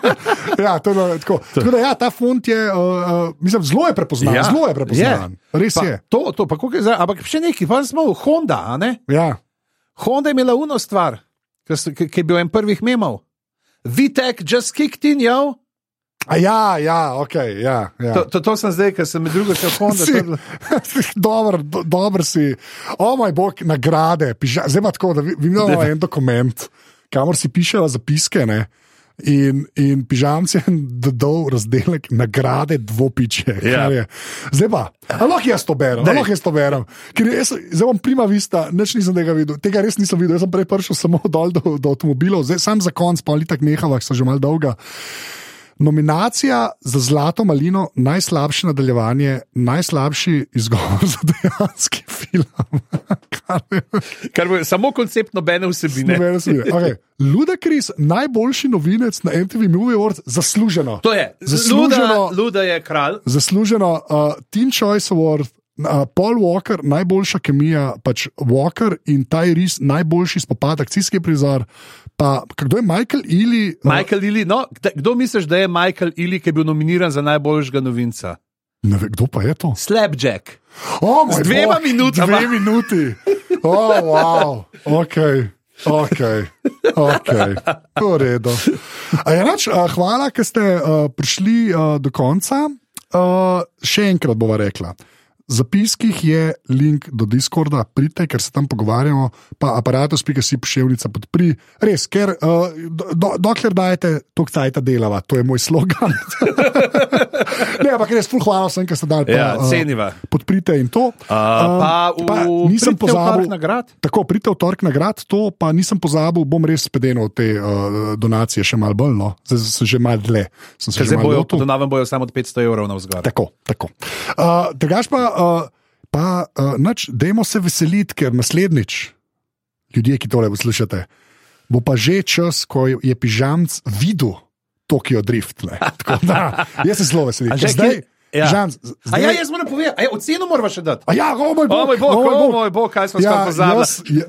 [LAUGHS] Ja, to je bilo tako. tako da, ja, ta font je, uh, uh, mislim, zelo je prepoznan.
Ja,
Ja. Zelo je prepoznan. Je. Res
pa,
je.
To, to, pa koliko je zdaj, ampak še nekaj, pa smo v Honda, a ne?
Ja.
Honda je imela uno stvar, ki so- ki- ki je bil en prvih memov. Vitek, just kicked in, jo.
A ja, ja, ok. Ja, ja.
To, to, to sem zdaj, ker sem med drugim še Honda.
[LAUGHS]
to je bilo-
Dobro, do, dober si. O moj bog, nagrade. Piža, zdaj pa tako, da vi vi imamo en dokument, kamor si pišejo zapiske. Ne? In, in pižamci je dodal razdelek nagrade dvopiče.
Ja.
kar je- Zdaj pa, a lahko jaz to berem, a
Daj.
lahko jaz to berem. Ker jaz, zdaj bom prima vista, neč nisem tega videl, tega res nisem videl. Jaz sem prej prišel samo dol do, do avtomobilov, zdaj sam za konc, pa ali tako nehava, ker so že mal dolga. Nominacija za Zlato malino, najslabše nadaljevanje, najslabši izgovor za dejanski film. [LAUGHS] Kar je
Kar bo samo koncept nobene vsebine.
meni smešno. Okay. Luda Kris, najboljši novinec na MTV Movie Awards, zasluženo.
To je
Zasluženo.
Luda, Luda je kralj.
Zasluženo uh, Teen Choice Award. Uh, Paul Walker, najboljša kemija, pač Walker in Tyrese, najboljši spopad, akcijski prizor. Pa kdo je Michael Ili?
Michael Ili, no, kda- kdo misliš, da je Michael Ili, ki je bil nominiran za najboljšega novinca?
Ne vem, kdo pa je to?
Slapjack.
Oh,
Z dvema minutama.
Dve minuti. Oh, wow. okay. Ok, okay. v redu. A je Nač, a, hvala, ker ste a, prišli a, do konca. A, še enkrat bova rekla. V zapiskih je link do Discorda, pridite, ker se tam pogovarjamo, pa aparatus.si pošiljka podpri. Res, ker uh, do, dokler dajete, to kdajta delava, to je moj slogan. ne, ampak res, ful, hvala vsem, ki ste dali. Pa,
Ja,
a,
ceniva.
podprite in to. Eh,
A, pa v-
pa nisem
pridite v
pozabil
torek na grad.
Tako, pridite v torek na grad, to pa nisem pozabil, bom res spedenil te uh, donacije še malo bolj, no. zdaj sem že malo dlje. Sem se
Ker
že
zdaj
malo
bojo,
lotil.
po novem bojo samo od 500 evrov na vzgor.
Tako, tako. Uh, Drugač pa, uh, pa uh, nač, dajmo se veseliti, ker naslednjič, ljudje, ki tole poslušate, bo pa že čas, ko je, je pižamc videl Tokio Drift.
[LAUGHS]
ne. Tako Da, jaz se zelo veselim.
A
ker
že
Zdaj,
kje- ja.
pižamc,
A
zdaj,
ja, jaz moram povedati, a ja, oceno moramo še dati.
A ja, o moj
O
bog, Ja,
moj bog, o moj bog, kaj smo skoraj pozabili.
jaz- ja,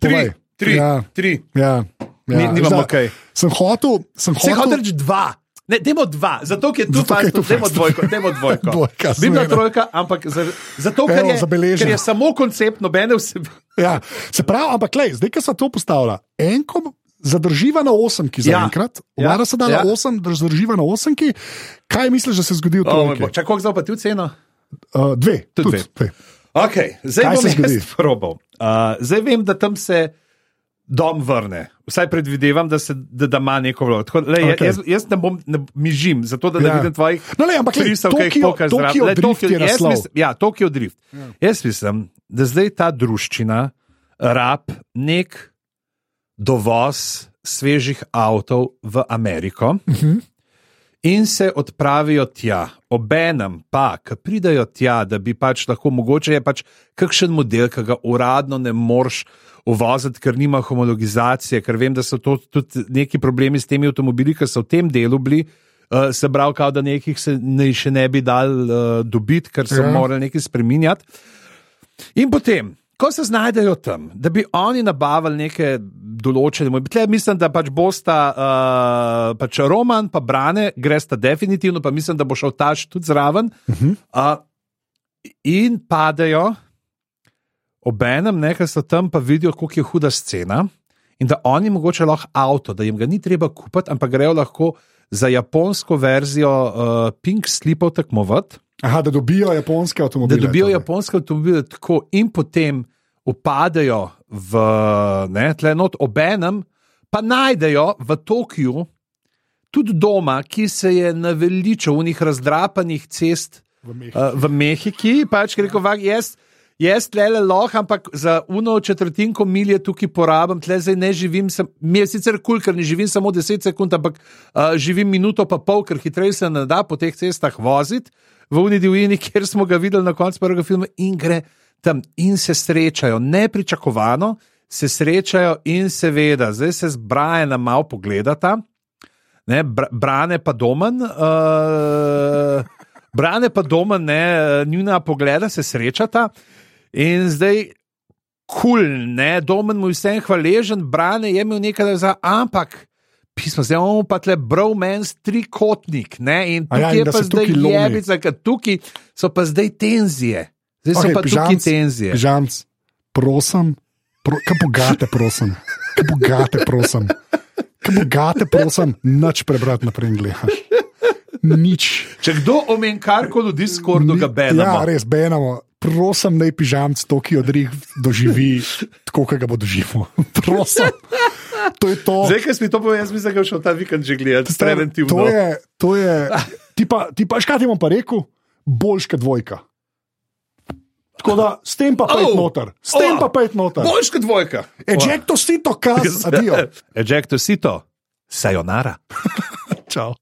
Tri,
povej.
tri,
Ja,
tri.
ja, ja.
Ni- nimamo
Zdaj,
kaj.
Sem hotel, sem
Se hotel
hotel.
reči dva. Ne, demo dva, zato ker je tu
Zato, ker je
fajn,
tu
demo
fast.
dvojko,
[LAUGHS]
demo dvojko.
Dvojka,
Bi bila
seveda.
trojka, ampak za, zato, ker
Evo,
je,
zabeleženo.
ker je samo koncept nobene vsebine.
Ja. Se pravi, ampak lej, zdaj, ki so to postavila, enkom zadrživa na osemki
Ja.
zaenkrat,
Ja.
ja. se da na
Ja.
osem, zadrživa na osemki. Kaj misliš, da se je zgodilo
O,
to?
moj bog, Čakaj, koliko zdaj pa ti oceno?
Uh, dve,
Tudi dve.
tudi dve.
Okay, zdaj
Kaj
bom
se zgodi?
jaz probal. Uh, zdaj vem, da tam se dom vrne. Vsaj predvidevam, da, se, da, da ima neko vlogo. Tako, lej,
Okej.
okay. Jaz, jaz ne bom ne, mižim, zato da ne
Ja.
ja. vidim tvojih.
No, lej, ampak lej, Tokio- Tokio Drift je
jaz
naslov.
mislim, ja, Tokio Drift. Ja. Jaz mislim, da zdaj ta druščina rab nek dovoz svežih avtov v Ameriko in se odpravijo tja. Obenem pa, ki pridajo tja, da bi pač lahko mogoče je pač kakšen model, ki ga uradno ne moreš uvoziti, ker nima homologizacije, ker vem, da so to tudi neki problemi s temi avtomobili, ki so v tem delu bili. Uh, se pravi, kao, da nekih se ne, še ne bi dal uh, dobiti, ker so
Ja.
ja. morali nekaj spreminjati. In potem, ko se znajdejo tam, da bi oni nabavili neke določene mobitele, mislim, da pač bosta uh, pač Roman in Brane, gresta definitivno, pa mislim, da bo šel Taš tudi zraven. Uh -huh. uh, in padajo, obenem, nekaj so tam, pa vidijo, koliko je huda scena. In da oni mogoče lahko avto, da jim ga ni treba kupiti, ampak grejo lahko za japonsko verzijo uh, Pink Slipov tekmovati
Aha, da dobijo japonske
da
avtomobile.
dobijo
torej.
japonske avtomobile tako in potem upadajo v ne, tle not obenem, pa najdejo v Tokiu tudi doma, ki se je naveličal v njih razdrapanih cest
V Mehiki. Ja.
eh, v Mehiki. Pač ki je rekel, "Vak, jaz, jaz tle le lahko, ampak za uno četrtinko milje tukaj porabim, tle zdaj ne živim, sem, mi je sicer kul, cool, ker ne živim samo 10 sekund, ampak uh, živim minuto pa pol, ker hitreje se ne da po teh cestah voziti v Uni Divini, [LAUGHS] kjer smo ga videli na koncu prvega filma in gre tam in se srečajo, nepričakovano se srečajo in seveda, zdaj se zbraje na malo pogledata. Ne, br brane pa domen, uh, brane pa domen, ne, eh, njuna pogleda se srečata in zdaj kul, cool, ne, domen mu je vsem hvaležen, brane je imel nekaj za, ampak. Pismo, zdaj imamo pa tle bromens trikotnik, ne, in
A ja,
tukaj
in
je
da
pa
se
zdaj
tukaj lomi.
jebica, ker tukaj so pa zdaj tenzije. Zdaj so
Okej,
okay, pa tukaj
pižamc,
tenzije.
Pižamc, prosim, pro, kaj bogate, prosim, kaj bogate, prosim, kaj bogate, prosim, nič prebrati naprej gledaš. Nič.
Če kdo omen karkoli v Discordu, ga
Ja,
benamo.
res benamo. Prosim, naj pižamc to, ki odrih doživi,
[LAUGHS]
tako kot ga bo doživel. [LAUGHS] Prosim. To je to.
Zdaj, ki si mi to povedal, jaz mislim, da je šel ta vikend že gledati, preventivno.
To je, to je ti pa, ti pa, škaj ti bom pa rekel, boljška dvojka. Tako da s tem pa pet
Oh.
oh, noter, s
Oh.
tem pa pet noter. E,
Boljš Ja. kot dvojka. [LAUGHS]
Ejecto si E, to, kar si. Adijo.
Ejecto sito, sayonara.
[LAUGHS] Čau.